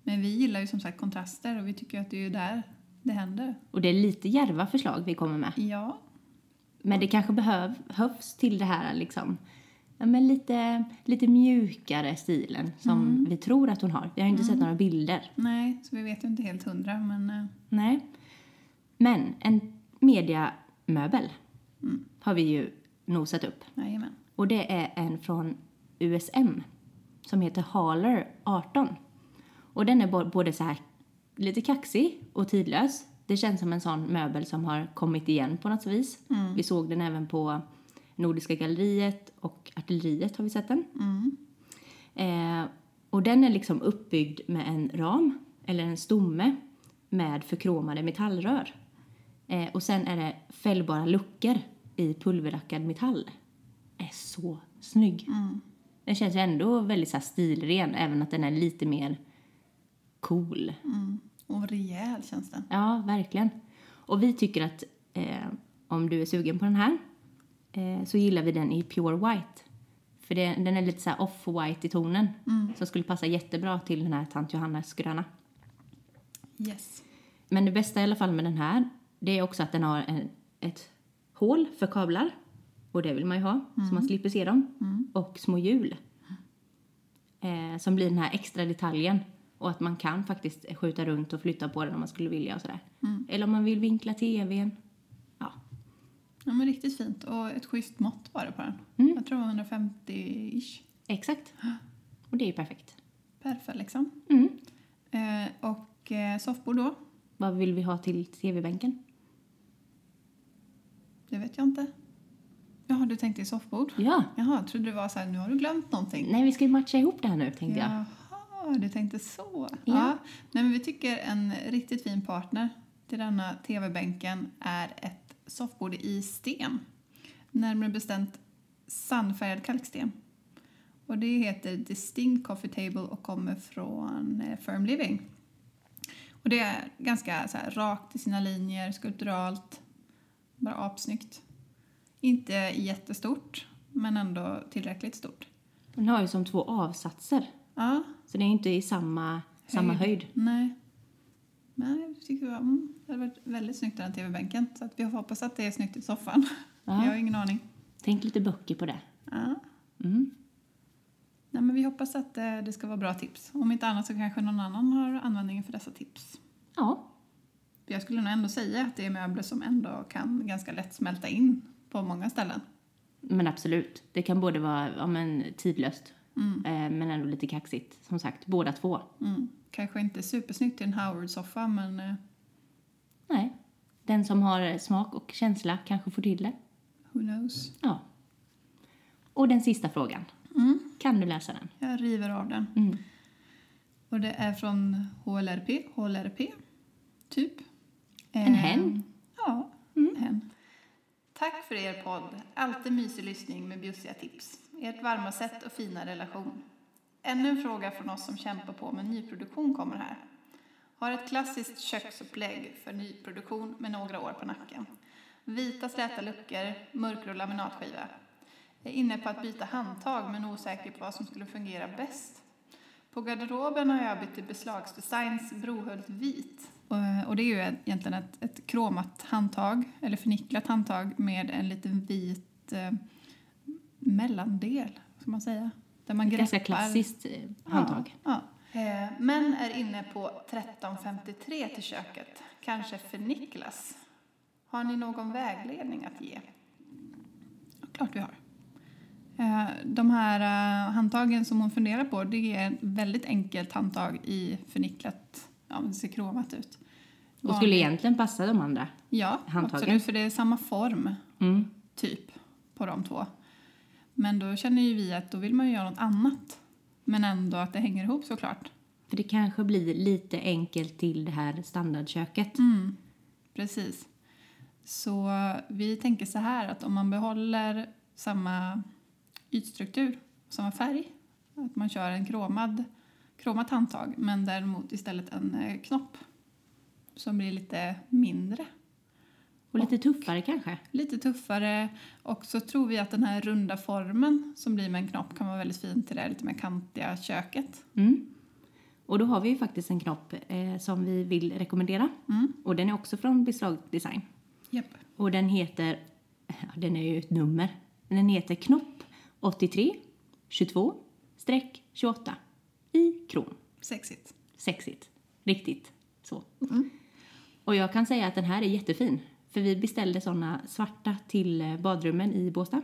S2: Men vi gillar ju som sagt kontraster och vi tycker att det är ju där det händer.
S1: Och det är lite djärva förslag vi kommer med.
S2: Ja,
S1: Men det kanske behöv, behövs till det här liksom, ja, men lite, lite mjukare stilen som vi tror att hon har. Vi har ju inte sett några bilder.
S2: nej, så vi vet ju inte helt hundra men eh,
S1: Nej. Men en mediamöbel har vi ju nosat upp.
S2: jajamän.
S1: Och det är en från USM som heter Haller 18. Och den är bo- både så här lite kaxig och tidlös. Det känns som en sån möbel som har kommit igen på något vis. Vi såg den även på Nordiska galleriet och Artilleriet har vi sett den. Eh, och den är liksom uppbyggd med en ram eller en stomme med förkromade metallrör. Eh, och sen är det fällbara luckor i pulverlackad metall. Är så snygg. Den känns ju ändå väldigt så här stilren, även att den är lite mer cool.
S2: Mm. Och rejäl känns den.
S1: Ja, verkligen. Och vi tycker att eh, om du är sugen på den här eh, så gillar vi den i Pure White. För det, den är lite så här off-white i tonen. Som skulle passa jättebra till den här Tant Johannas gröna.
S2: Yes.
S1: Men det bästa i alla fall med den här, det är också att den har en, ett hål för kablar. Och det vill man ju ha, så man slipper se dem. Och små hjul. Eh, som blir den här extra detaljen. Och att man kan faktiskt skjuta runt och flytta på den om man skulle vilja och sådär. Eller om man vill vinkla tvn. Ja,
S2: Ja, men riktigt fint. Och ett schysst mått var det på den.
S1: Mm.
S2: Jag tror det var 150-ish.
S1: exakt. Och det är ju perfekt.
S2: Perfekt liksom.
S1: Mm.
S2: Eh, och eh, soffbord då?
S1: Vad vill vi ha till tv-bänken?
S2: Det vet jag inte. Jaha, du tänkte i soffbord?
S1: Ja!
S2: Jaha, jag trodde det var så här, nu har du glömt någonting.
S1: Nej, vi ska ju matcha ihop det här nu, tänkte jag.
S2: Jaha, du tänkte så.
S1: Ja.
S2: Nej, men vi tycker en riktigt fin partner till denna tv-bänken är ett soffbord i sten. Närmare bestämt sandfärgad kalksten. Och det heter Distinct Coffee Table och kommer från eh, Firm Living. Och det är ganska så här, rakt i sina linjer, skulpturalt, bara apsnyggt. Inte jättestort, men ändå tillräckligt stort.
S1: Den har ju som två avsatser.
S2: Ja,
S1: Så det är ju inte i samma höjd. Samma höjd.
S2: Nej. Nej, jag tycker jag, mm, det hade varit väldigt snyggt i den tv-bänken. Så att vi hoppas att det är snyggt i soffan.
S1: Ja.
S2: Jag har ingen aning.
S1: Tänk lite böcker på det.
S2: Ja.
S1: Mm.
S2: Nej, men vi hoppas att eh, det ska vara bra tips. Om inte annat så kanske någon annan har användning för dessa tips.
S1: Ja,
S2: För Jag skulle nog ändå säga att det är möbler som ändå kan ganska lätt smälta in på många ställen.
S1: men absolut. Det kan både vara ja, men, tidlöst eh, men ändå lite kaxigt. Som sagt, båda två.
S2: Mm. Kanske inte supersnyggt i en Howard-soffa men eh,
S1: Nej, Den som har smak och känsla kanske får till det.
S2: Who knows?
S1: Ja. Och den sista frågan. Kan du läsa den?
S2: Mm. Jag river av den.
S1: Mm.
S2: Och det är från HLRP, HLRP, typ.
S1: En
S2: Eh,
S1: hen. Mm.
S2: Ja, en hen. Tack för er podd. Alltid mysig lyssning med bjussiga tips. Ert varma sätt och fina relation. Ännu en fråga från oss som kämpar på med nyproduktion kommer här. Har ett klassiskt köksupplägg för nyproduktion med några år på nacken. Vita släta luckor, mörkgrå laminatskiva. Jag är inne på att byta handtag men osäker på vad som skulle fungera bäst. På garderoben har jag bytt till beslagsdesigns Brohult vit. Eh, Och, och det är ju en- egentligen ett, ett kromat handtag, eller förnicklat handtag med en liten vit eh, mellandel, ska man säga. Där man
S1: Ganska
S2: greppar-
S1: klassiskt eh, handtag.
S2: Ja. Eh, Men är inne på 1353 till köket, kanske för Niklas. Har ni någon vägledning att ge? Ja, Klart vi har. Eh, De här eh, handtagen som hon funderar på, det är ett väldigt enkelt handtag i förnicklat, ja men det ser kromat ut.
S1: Och skulle egentligen passa de andra.
S2: Ja,
S1: handtagen.
S2: absolut, för det är samma form,
S1: Mm.
S2: typ, på de två. Men då känner ju vi att då vill man ju göra något annat. Men ändå att det hänger ihop såklart.
S1: För det kanske blir lite enkelt till det här standardköket.
S2: Mm, precis. Så vi tänker så här att om man behåller samma ytstruktur, samma färg, att man kör en kromad, kromat handtag men däremot istället en eh, knopp som blir lite mindre,
S1: Och lite tuffare kanske.
S2: lite tuffare och så tror vi att den här runda formen som blir med en knopp kan vara väldigt fin till det här lite mer kantiga köket.
S1: Mm. Och då har vi ju faktiskt en knopp eh, som vi vill rekommendera.
S2: Mm.
S1: Och den är också från Beslag Design.
S2: Japp.
S1: Och den heter, ja, den är ju ett nummer, Men den heter Knopp 83 22 streck 28 i kron.
S2: Sexigt.
S1: Sexigt. Riktigt så. Och jag kan säga att den här är jättefin. För vi beställde såna svarta till eh, badrummen i Båstad.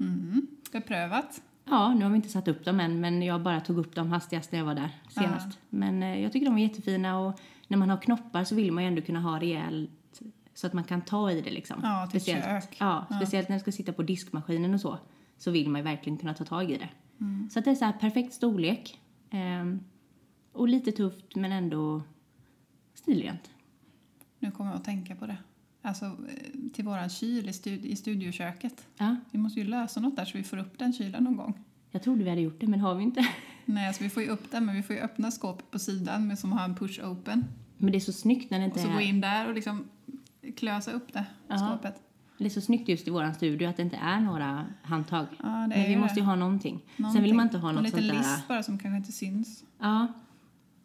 S2: Mm. Beprövat.
S1: Ja, nu har vi inte satt upp dem än, men jag bara tog upp dem hastigast när jag var där senast. Men eh, jag tycker de är jättefina och när man har knoppar så vill man ju ändå kunna ha rejält så att man kan ta i det liksom.
S2: Ja, till kök.
S1: Ja, speciellt när du ska sitta på diskmaskinen och så, så vill man ju verkligen kunna ta tag i det.
S2: Mm.
S1: Så att det är så här perfekt storlek ehm, och lite tufft men ändå stilrent.
S2: Nu kommer jag att tänka på det. Alltså eh, till våran kyl i, stud- i studioköket.
S1: Ja,
S2: Vi måste ju lösa något där så vi får upp den kylen någon gång.
S1: jag trodde vi hade gjort det, men har vi inte. (laughs)
S2: Nej, alltså vi får ju upp den men vi får ju öppna skåpet på sidan med, som har en push open.
S1: Men det är så snyggt när det inte
S2: Och så
S1: är...
S2: gå in där och liksom klösa upp det
S1: Ja.
S2: skåpet.
S1: Det är så snyggt just i våran studio att det inte är några handtag.
S2: Ja, det är
S1: Men vi
S2: ju
S1: måste
S2: det.
S1: ju ha någonting. Sen vill
S2: Någonting.
S1: man inte ha
S2: En
S1: något
S2: liten
S1: sånt där...
S2: list bara som kanske inte syns.
S1: Ja.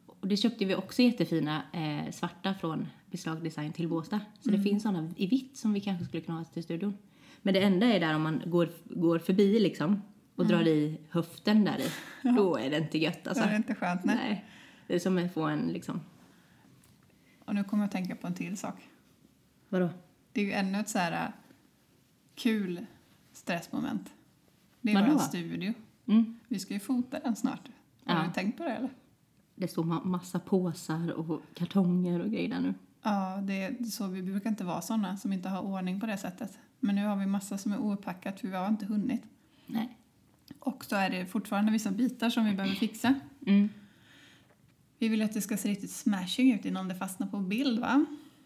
S1: Och det köpte vi också jättefina eh, svarta från Beslag Design till Båstad. Så
S2: Mm.
S1: det finns sådana i vitt som vi kanske skulle kunna ha till studion. Men det enda är där om man går, går förbi liksom och
S2: Mm.
S1: drar i höften där i. Då är det inte gött alltså.
S2: Det är inte skönt. Nej.
S1: Nej. Det är som att få en liksom...
S2: Och nu kommer jag att tänka på en till sak.
S1: Vadå?
S2: Det är ju ännu ett så här eh, kul stressmoment. Det är
S1: Vadå?
S2: våran studio.
S1: Mm.
S2: Vi ska ju fota den snart. Har
S1: Ja.
S2: du tänkt på det eller?
S1: Det står ma- massa påsar och kartonger och grejer där nu.
S2: Ja, det är så vi brukar inte vara sådana som inte har ordning på det sättet. Men nu har vi massa som är oupackat för vi har inte hunnit.
S1: Nej.
S2: Och så är det fortfarande vissa bitar som vi behöver fixa.
S1: Mm.
S2: Vi vill att det ska se riktigt smashing ut innan det fastnar på bild va?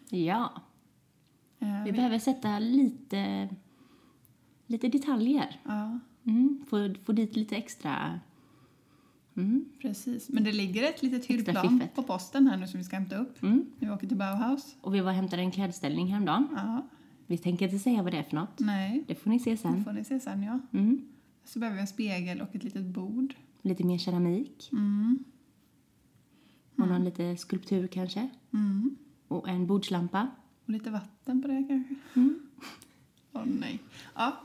S1: Ja.
S2: Eh,
S1: Vi
S2: vi-
S1: behöver sätta lite, lite detaljer.
S2: Ja,
S1: Mm, få, få dit lite extra. Mm,
S2: precis. Men det ligger ett litet
S1: Extra
S2: hyllplan
S1: fiffet.
S2: på posten här nu som vi ska hämta upp.
S1: mm.
S2: Vi åker till Bauhaus.
S1: Och vi var och hämtade en klädställning häromdagen.
S2: Ja,
S1: Vi tänker inte säga vad det är för något.
S2: nej.
S1: Det får ni se
S2: Det
S1: sen.
S2: får ni se sen ja.
S1: Mm.
S2: Så behöver vi en spegel och ett litet bord.
S1: Lite mer keramik
S2: Mm.
S1: och någon lite skulptur kanske.
S2: Mm.
S1: Och en bordslampa.
S2: Och lite vatten på det kanske. (laughs) Åh nej. Ja,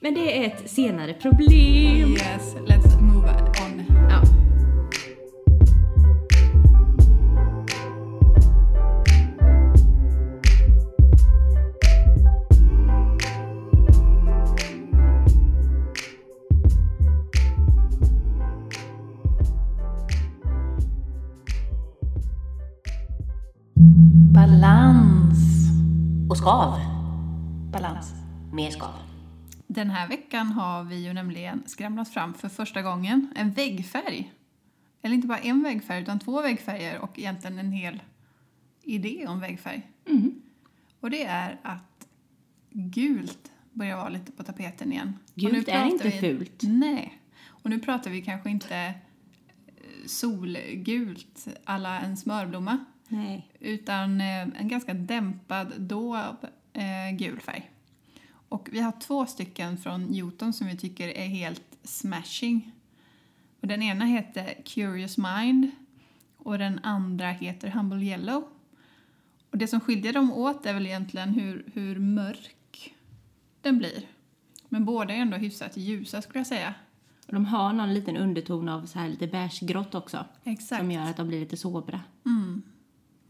S1: Men det är ett senare problem.
S2: Yes, let's move on.
S1: Ja.
S2: Balans.
S1: Och skav.
S2: Balans.
S1: Mer skav.
S2: Den här veckan har vi ju nämligen skramlat fram för första gången en väggfärg. Eller inte bara en väggfärg, utan två väggfärger och egentligen en hel idé om väggfärg. Och det är att gult börjar vara lite på tapeten igen. Och nu
S1: Gult är
S2: pratar
S1: inte
S2: vi-
S1: fult.
S2: Nej. Och nu pratar vi kanske inte eh, solgult alla en smörblomma
S1: Nej.
S2: utan eh, en ganska dämpad, dov eh, gul färg. Och vi har två stycken från Jotun som vi tycker är helt smashing. Och den ena heter Curious Mind och den andra heter Humble Yellow. Och det som skiljer dem åt är väl egentligen hur, hur mörk den blir. Men båda är ändå hyfsat ljusa skulle jag säga.
S1: Och de har någon liten underton av så här lite beigebegrått också.
S2: Exakt.
S1: Som gör att de blir lite sobra.
S2: Mm.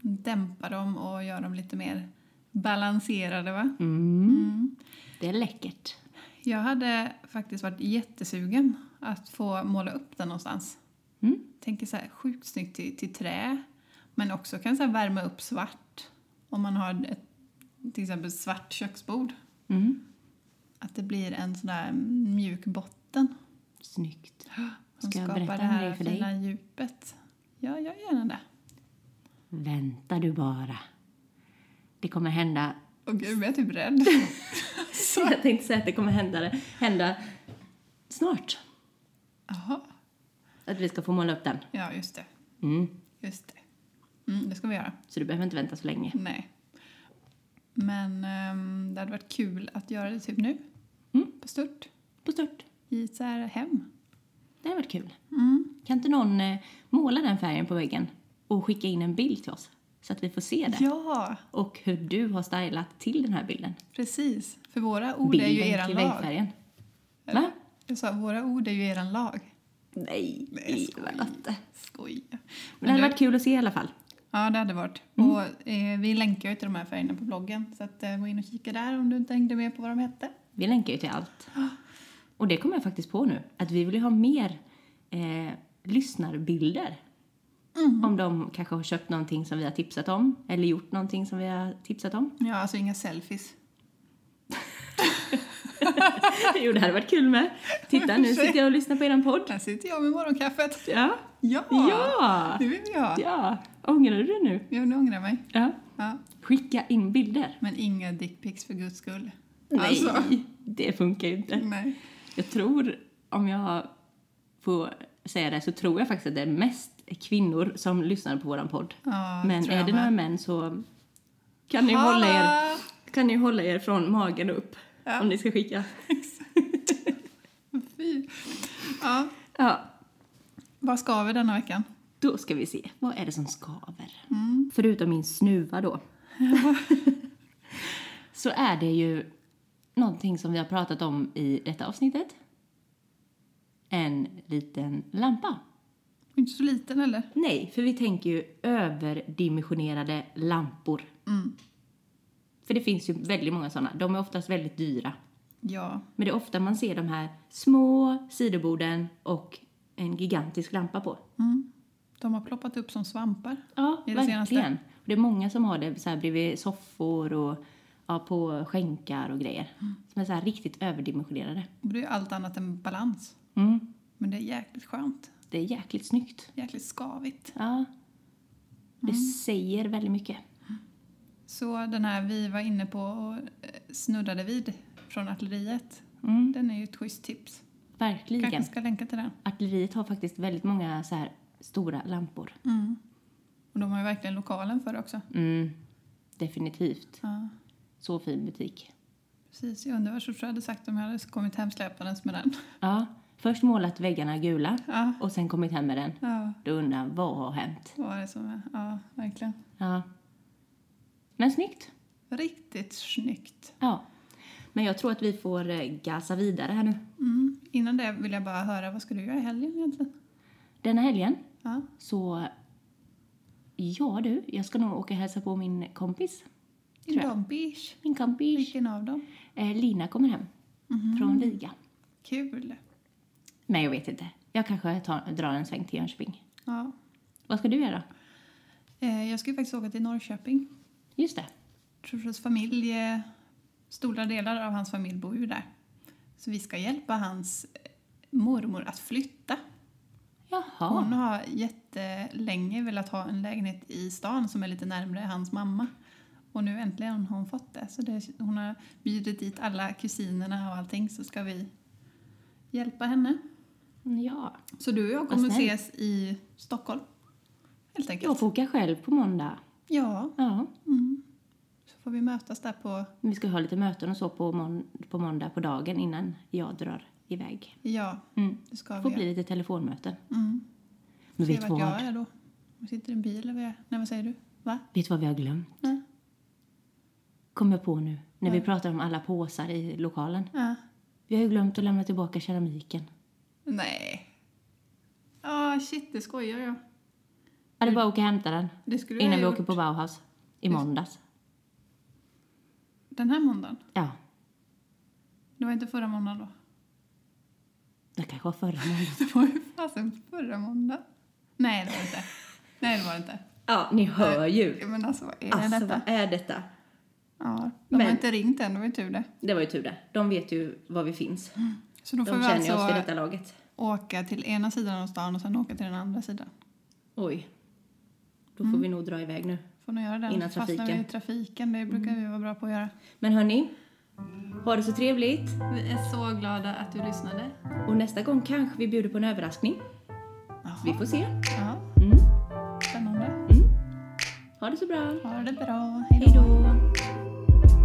S2: Dämpa dem och gör dem lite mer balanserade va? Mm.
S1: Det är läckert.
S2: Jag hade faktiskt varit jättesugen att få måla upp den någonstans.
S1: Mm.
S2: Tänker så här sjukt snyggt till, till trä, men också kan så här värma upp svart. Om man har ett, till exempel svart köksbord.
S1: Mm.
S2: Att det blir en sån där mjuk botten.
S1: Snyggt.
S2: Som
S1: Ska jag
S2: skapar
S1: berätta
S2: det
S1: en
S2: här
S1: grej för dig?
S2: fina djupet. Ja, jag gör gärna det.
S1: Vänta du bara. Det kommer (laughs) hända...
S2: Åh gud, jag är typ
S1: (laughs)
S2: rädd.
S1: Jag tänkte säga att det kommer hända, hända snart.
S2: Jaha.
S1: Att vi ska få måla upp den.
S2: Ja, just det.
S1: Mm.
S2: Just det. Mm, det ska vi göra.
S1: Så du behöver inte vänta så länge.
S2: Nej. Men ehm, det hade varit kul att göra det typ nu.
S1: Mm.
S2: På stort.
S1: På stört.
S2: I ett så här hem.
S1: Det hade varit kul.
S2: Mm.
S1: Kan inte någon eh, måla den färgen på väggen och skicka in en bild till oss? Så att vi får se det.
S2: Ja,
S1: Och hur du har stylat till den här bilden.
S2: precis. För våra
S1: Oh,
S2: ord är ju
S1: Bilden
S2: eran
S1: till
S2: lag.
S1: väggfärgen.
S2: Eller?
S1: Va?
S2: Jag sa, våra ord är ju eran lag.
S1: Nej,
S2: Nej, jag
S1: väl inte.
S2: Skoj.
S1: Men det hade varit kul att se i alla fall.
S2: Ja, det hade varit. Och eh, vi länkar ju till de här färgerna på bloggen. Så att, eh, gå in och kika där om du inte hängde med på vad de hette.
S1: Vi länkar ju till allt. Och det kommer jag faktiskt på nu, att vi vill ju ha mer eh, lyssnarbilder. Om de kanske har köpt någonting som vi har tipsat om, eller gjort någonting som vi har tipsat om. (laughs)
S2: Ja, alltså inga selfies.
S1: jo, det hade varit kul med. Titta, nu sitter jag och lyssnar på er podd.
S2: Där sitter jag med morgonkaffet.
S1: Ja!
S2: Ja!
S1: Ja!
S2: Det vill vi ha.
S1: Ja! Ångrar du det nu?
S2: Jag nu ångrar jag mig.
S1: Ja.
S2: Ja.
S1: Skicka in bilder.
S2: Men inga dickpics för guds skull.
S1: Nej,
S2: Alltså,
S1: det funkar ju inte.
S2: nej.
S1: Jag tror, om jag får säga det, så tror jag faktiskt att det är mest kvinnor som lyssnar på våran podd.
S2: Ja, det
S1: Men
S2: tror jag
S1: är det
S2: med.
S1: några män så kan ni,
S2: Hallå!
S1: hålla er, kan ni hålla er från magen upp om ni ska skicka.
S2: Fy. Ja,
S1: Ja,
S2: vad ska vi denna veckan?
S1: då ska vi se. Vad är det som skaver?
S2: Mm.
S1: Förutom min snuva då. (laughs) så är det ju någonting som vi har pratat om i detta avsnittet. En liten lampa.
S2: Inte så liten eller?
S1: Nej, för vi tänker ju överdimensionerade lampor.
S2: Mm.
S1: För det finns ju väldigt många sådana. De är oftast väldigt dyra.
S2: Ja.
S1: Men det är ofta man ser de här små sidoborden och en gigantisk lampa på.
S2: Mm. De har ploppat upp som svampar.
S1: Ja,
S2: Det är det
S1: verkligen.
S2: senaste.
S1: Och det är många som har det så här bredvid soffor och ja, på skänkar och grejer.
S2: Mm.
S1: Som är så här riktigt överdimensionerade.
S2: Och det är ju allt annat än balans.
S1: Mm.
S2: Men det är jäkligt skönt.
S1: Det är jäkligt snyggt.
S2: Jäkligt skavigt.
S1: Ja. Det
S2: Mm.
S1: säger väldigt mycket.
S2: Så den här vi var inne på och eh, snuddade vid från artilleriet.
S1: Mm.
S2: Den är ju ett schysst tips.
S1: Verkligen.
S2: Kanske ska länka till den.
S1: Artilleriet har faktiskt väldigt många så här stora lampor.
S2: Mm. Och de har ju verkligen lokalen för det också.
S1: Mm, definitivt.
S2: Ja.
S1: Så fin butik.
S2: Precis, jag undrar vad Sorsha hade sagt om jag hade kommit hem släpandes med den. (laughs)
S1: Ja, först målat väggarna gula
S2: Ja,
S1: och sen kommit hem med den.
S2: ja.
S1: Då undrar jag, vad har hänt?
S2: Vad var det som är? Ja, verkligen.
S1: Ja. Men snyggt.
S2: Riktigt snyggt.
S1: Ja. Men jag tror att vi får eh, gasa vidare här nu.
S2: Mm. Innan det vill jag bara höra, vad ska du göra i helgen egentligen?
S1: Denna helgen
S2: Ja,
S1: så... Ja du, jag ska nog åka och hälsa på min kompis.
S2: i
S1: Tror jag.
S2: Dombis.
S1: Min kompis.
S2: Vilken av dem?
S1: Eh, Lina kommer hem. Från Riga.
S2: Kul.
S1: Men jag vet inte. Jag kanske tar, drar en sväng till Jönköping.
S2: Ja.
S1: Vad ska du göra?
S2: Eh, Jag ska ju faktiskt åka till Norrköping.
S1: Just det.
S2: Trorsas familj, eh, stora delar av hans familj bor ju där. Så vi ska hjälpa hans eh, mormor att flytta.
S1: Jaha.
S2: Hon har jättelänge velat ha en lägenhet i stan som är lite närmre hans mamma. Och nu äntligen har hon fått det. Så det, hon har bjudit dit alla kusinerna och allting så ska vi hjälpa henne. Mm,
S1: Ja.
S2: Så du och jag
S1: Vad
S2: kommer
S1: snällt.
S2: ses i Stockholm. Helt enkelt.
S1: Jag får åka själv på måndag.
S2: Ja,
S1: Ja.
S2: så får vi mötas där på...
S1: Men Vi ska ha lite möten och så på, mån- på måndag på dagen innan jag drar iväg.
S2: Ja,
S1: Mm.
S2: det ska
S1: Det
S2: vi.
S1: får bli lite telefonmöten.
S2: Mm.
S1: Men
S2: Se
S1: vet du vad?
S2: vart jag är då. Jag sitter i en bil eller vad jag... Nej, vad säger du? Va?
S1: Vet du vad vi har glömt?
S2: Nej.
S1: Kom jag på nu, när vi pratar om alla påsar i lokalen.
S2: Ja.
S1: Vi har ju glömt att lämna tillbaka keramiken.
S2: Nej. Ah, shit, det skojar jag.
S1: Ja, det är bara att åka och hämta den.
S2: Mm. Det skulle jag
S1: Innan
S2: ha
S1: vi
S2: gjort
S1: åker på Bauhaus. I måndags.
S2: den här måndagen.
S1: Ja,
S2: Det var inte förra måndagen då. (laughs)
S1: det kanske var förra måndagen.
S2: Det var ju fasen förra måndagen. Nej, det var det inte. Nej, det var det inte.
S1: Ja, ni hör ju.
S2: Ja, Men alltså, vad är det detta?
S1: är detta?
S2: Ja, de
S1: Men-
S2: har inte ringt än, det var ju tur det.
S1: Det var ju tur det. De vet ju var vi finns.
S2: Så då får vi alltså
S1: laget.
S2: åka till ena sidan av stan och sen åka till den andra sidan.
S1: Oj. Då
S2: Mm.
S1: får vi nog dra iväg nu.
S2: Får nog göra den.
S1: Innan
S2: Fastnar vi
S1: trafiken. Mm.
S2: i trafiken, det brukar vi vara bra på att göra.
S1: Men hörni, ha det så trevligt.
S2: Vi är så glada att du lyssnade.
S1: Och nästa gång kanske vi bjuder på en överraskning. Vi får se.
S2: Ja,
S1: Mm.
S2: spännande.
S1: Mm. Ha det så bra.
S2: Ha det bra.
S1: Hej
S2: Hej då.
S1: då.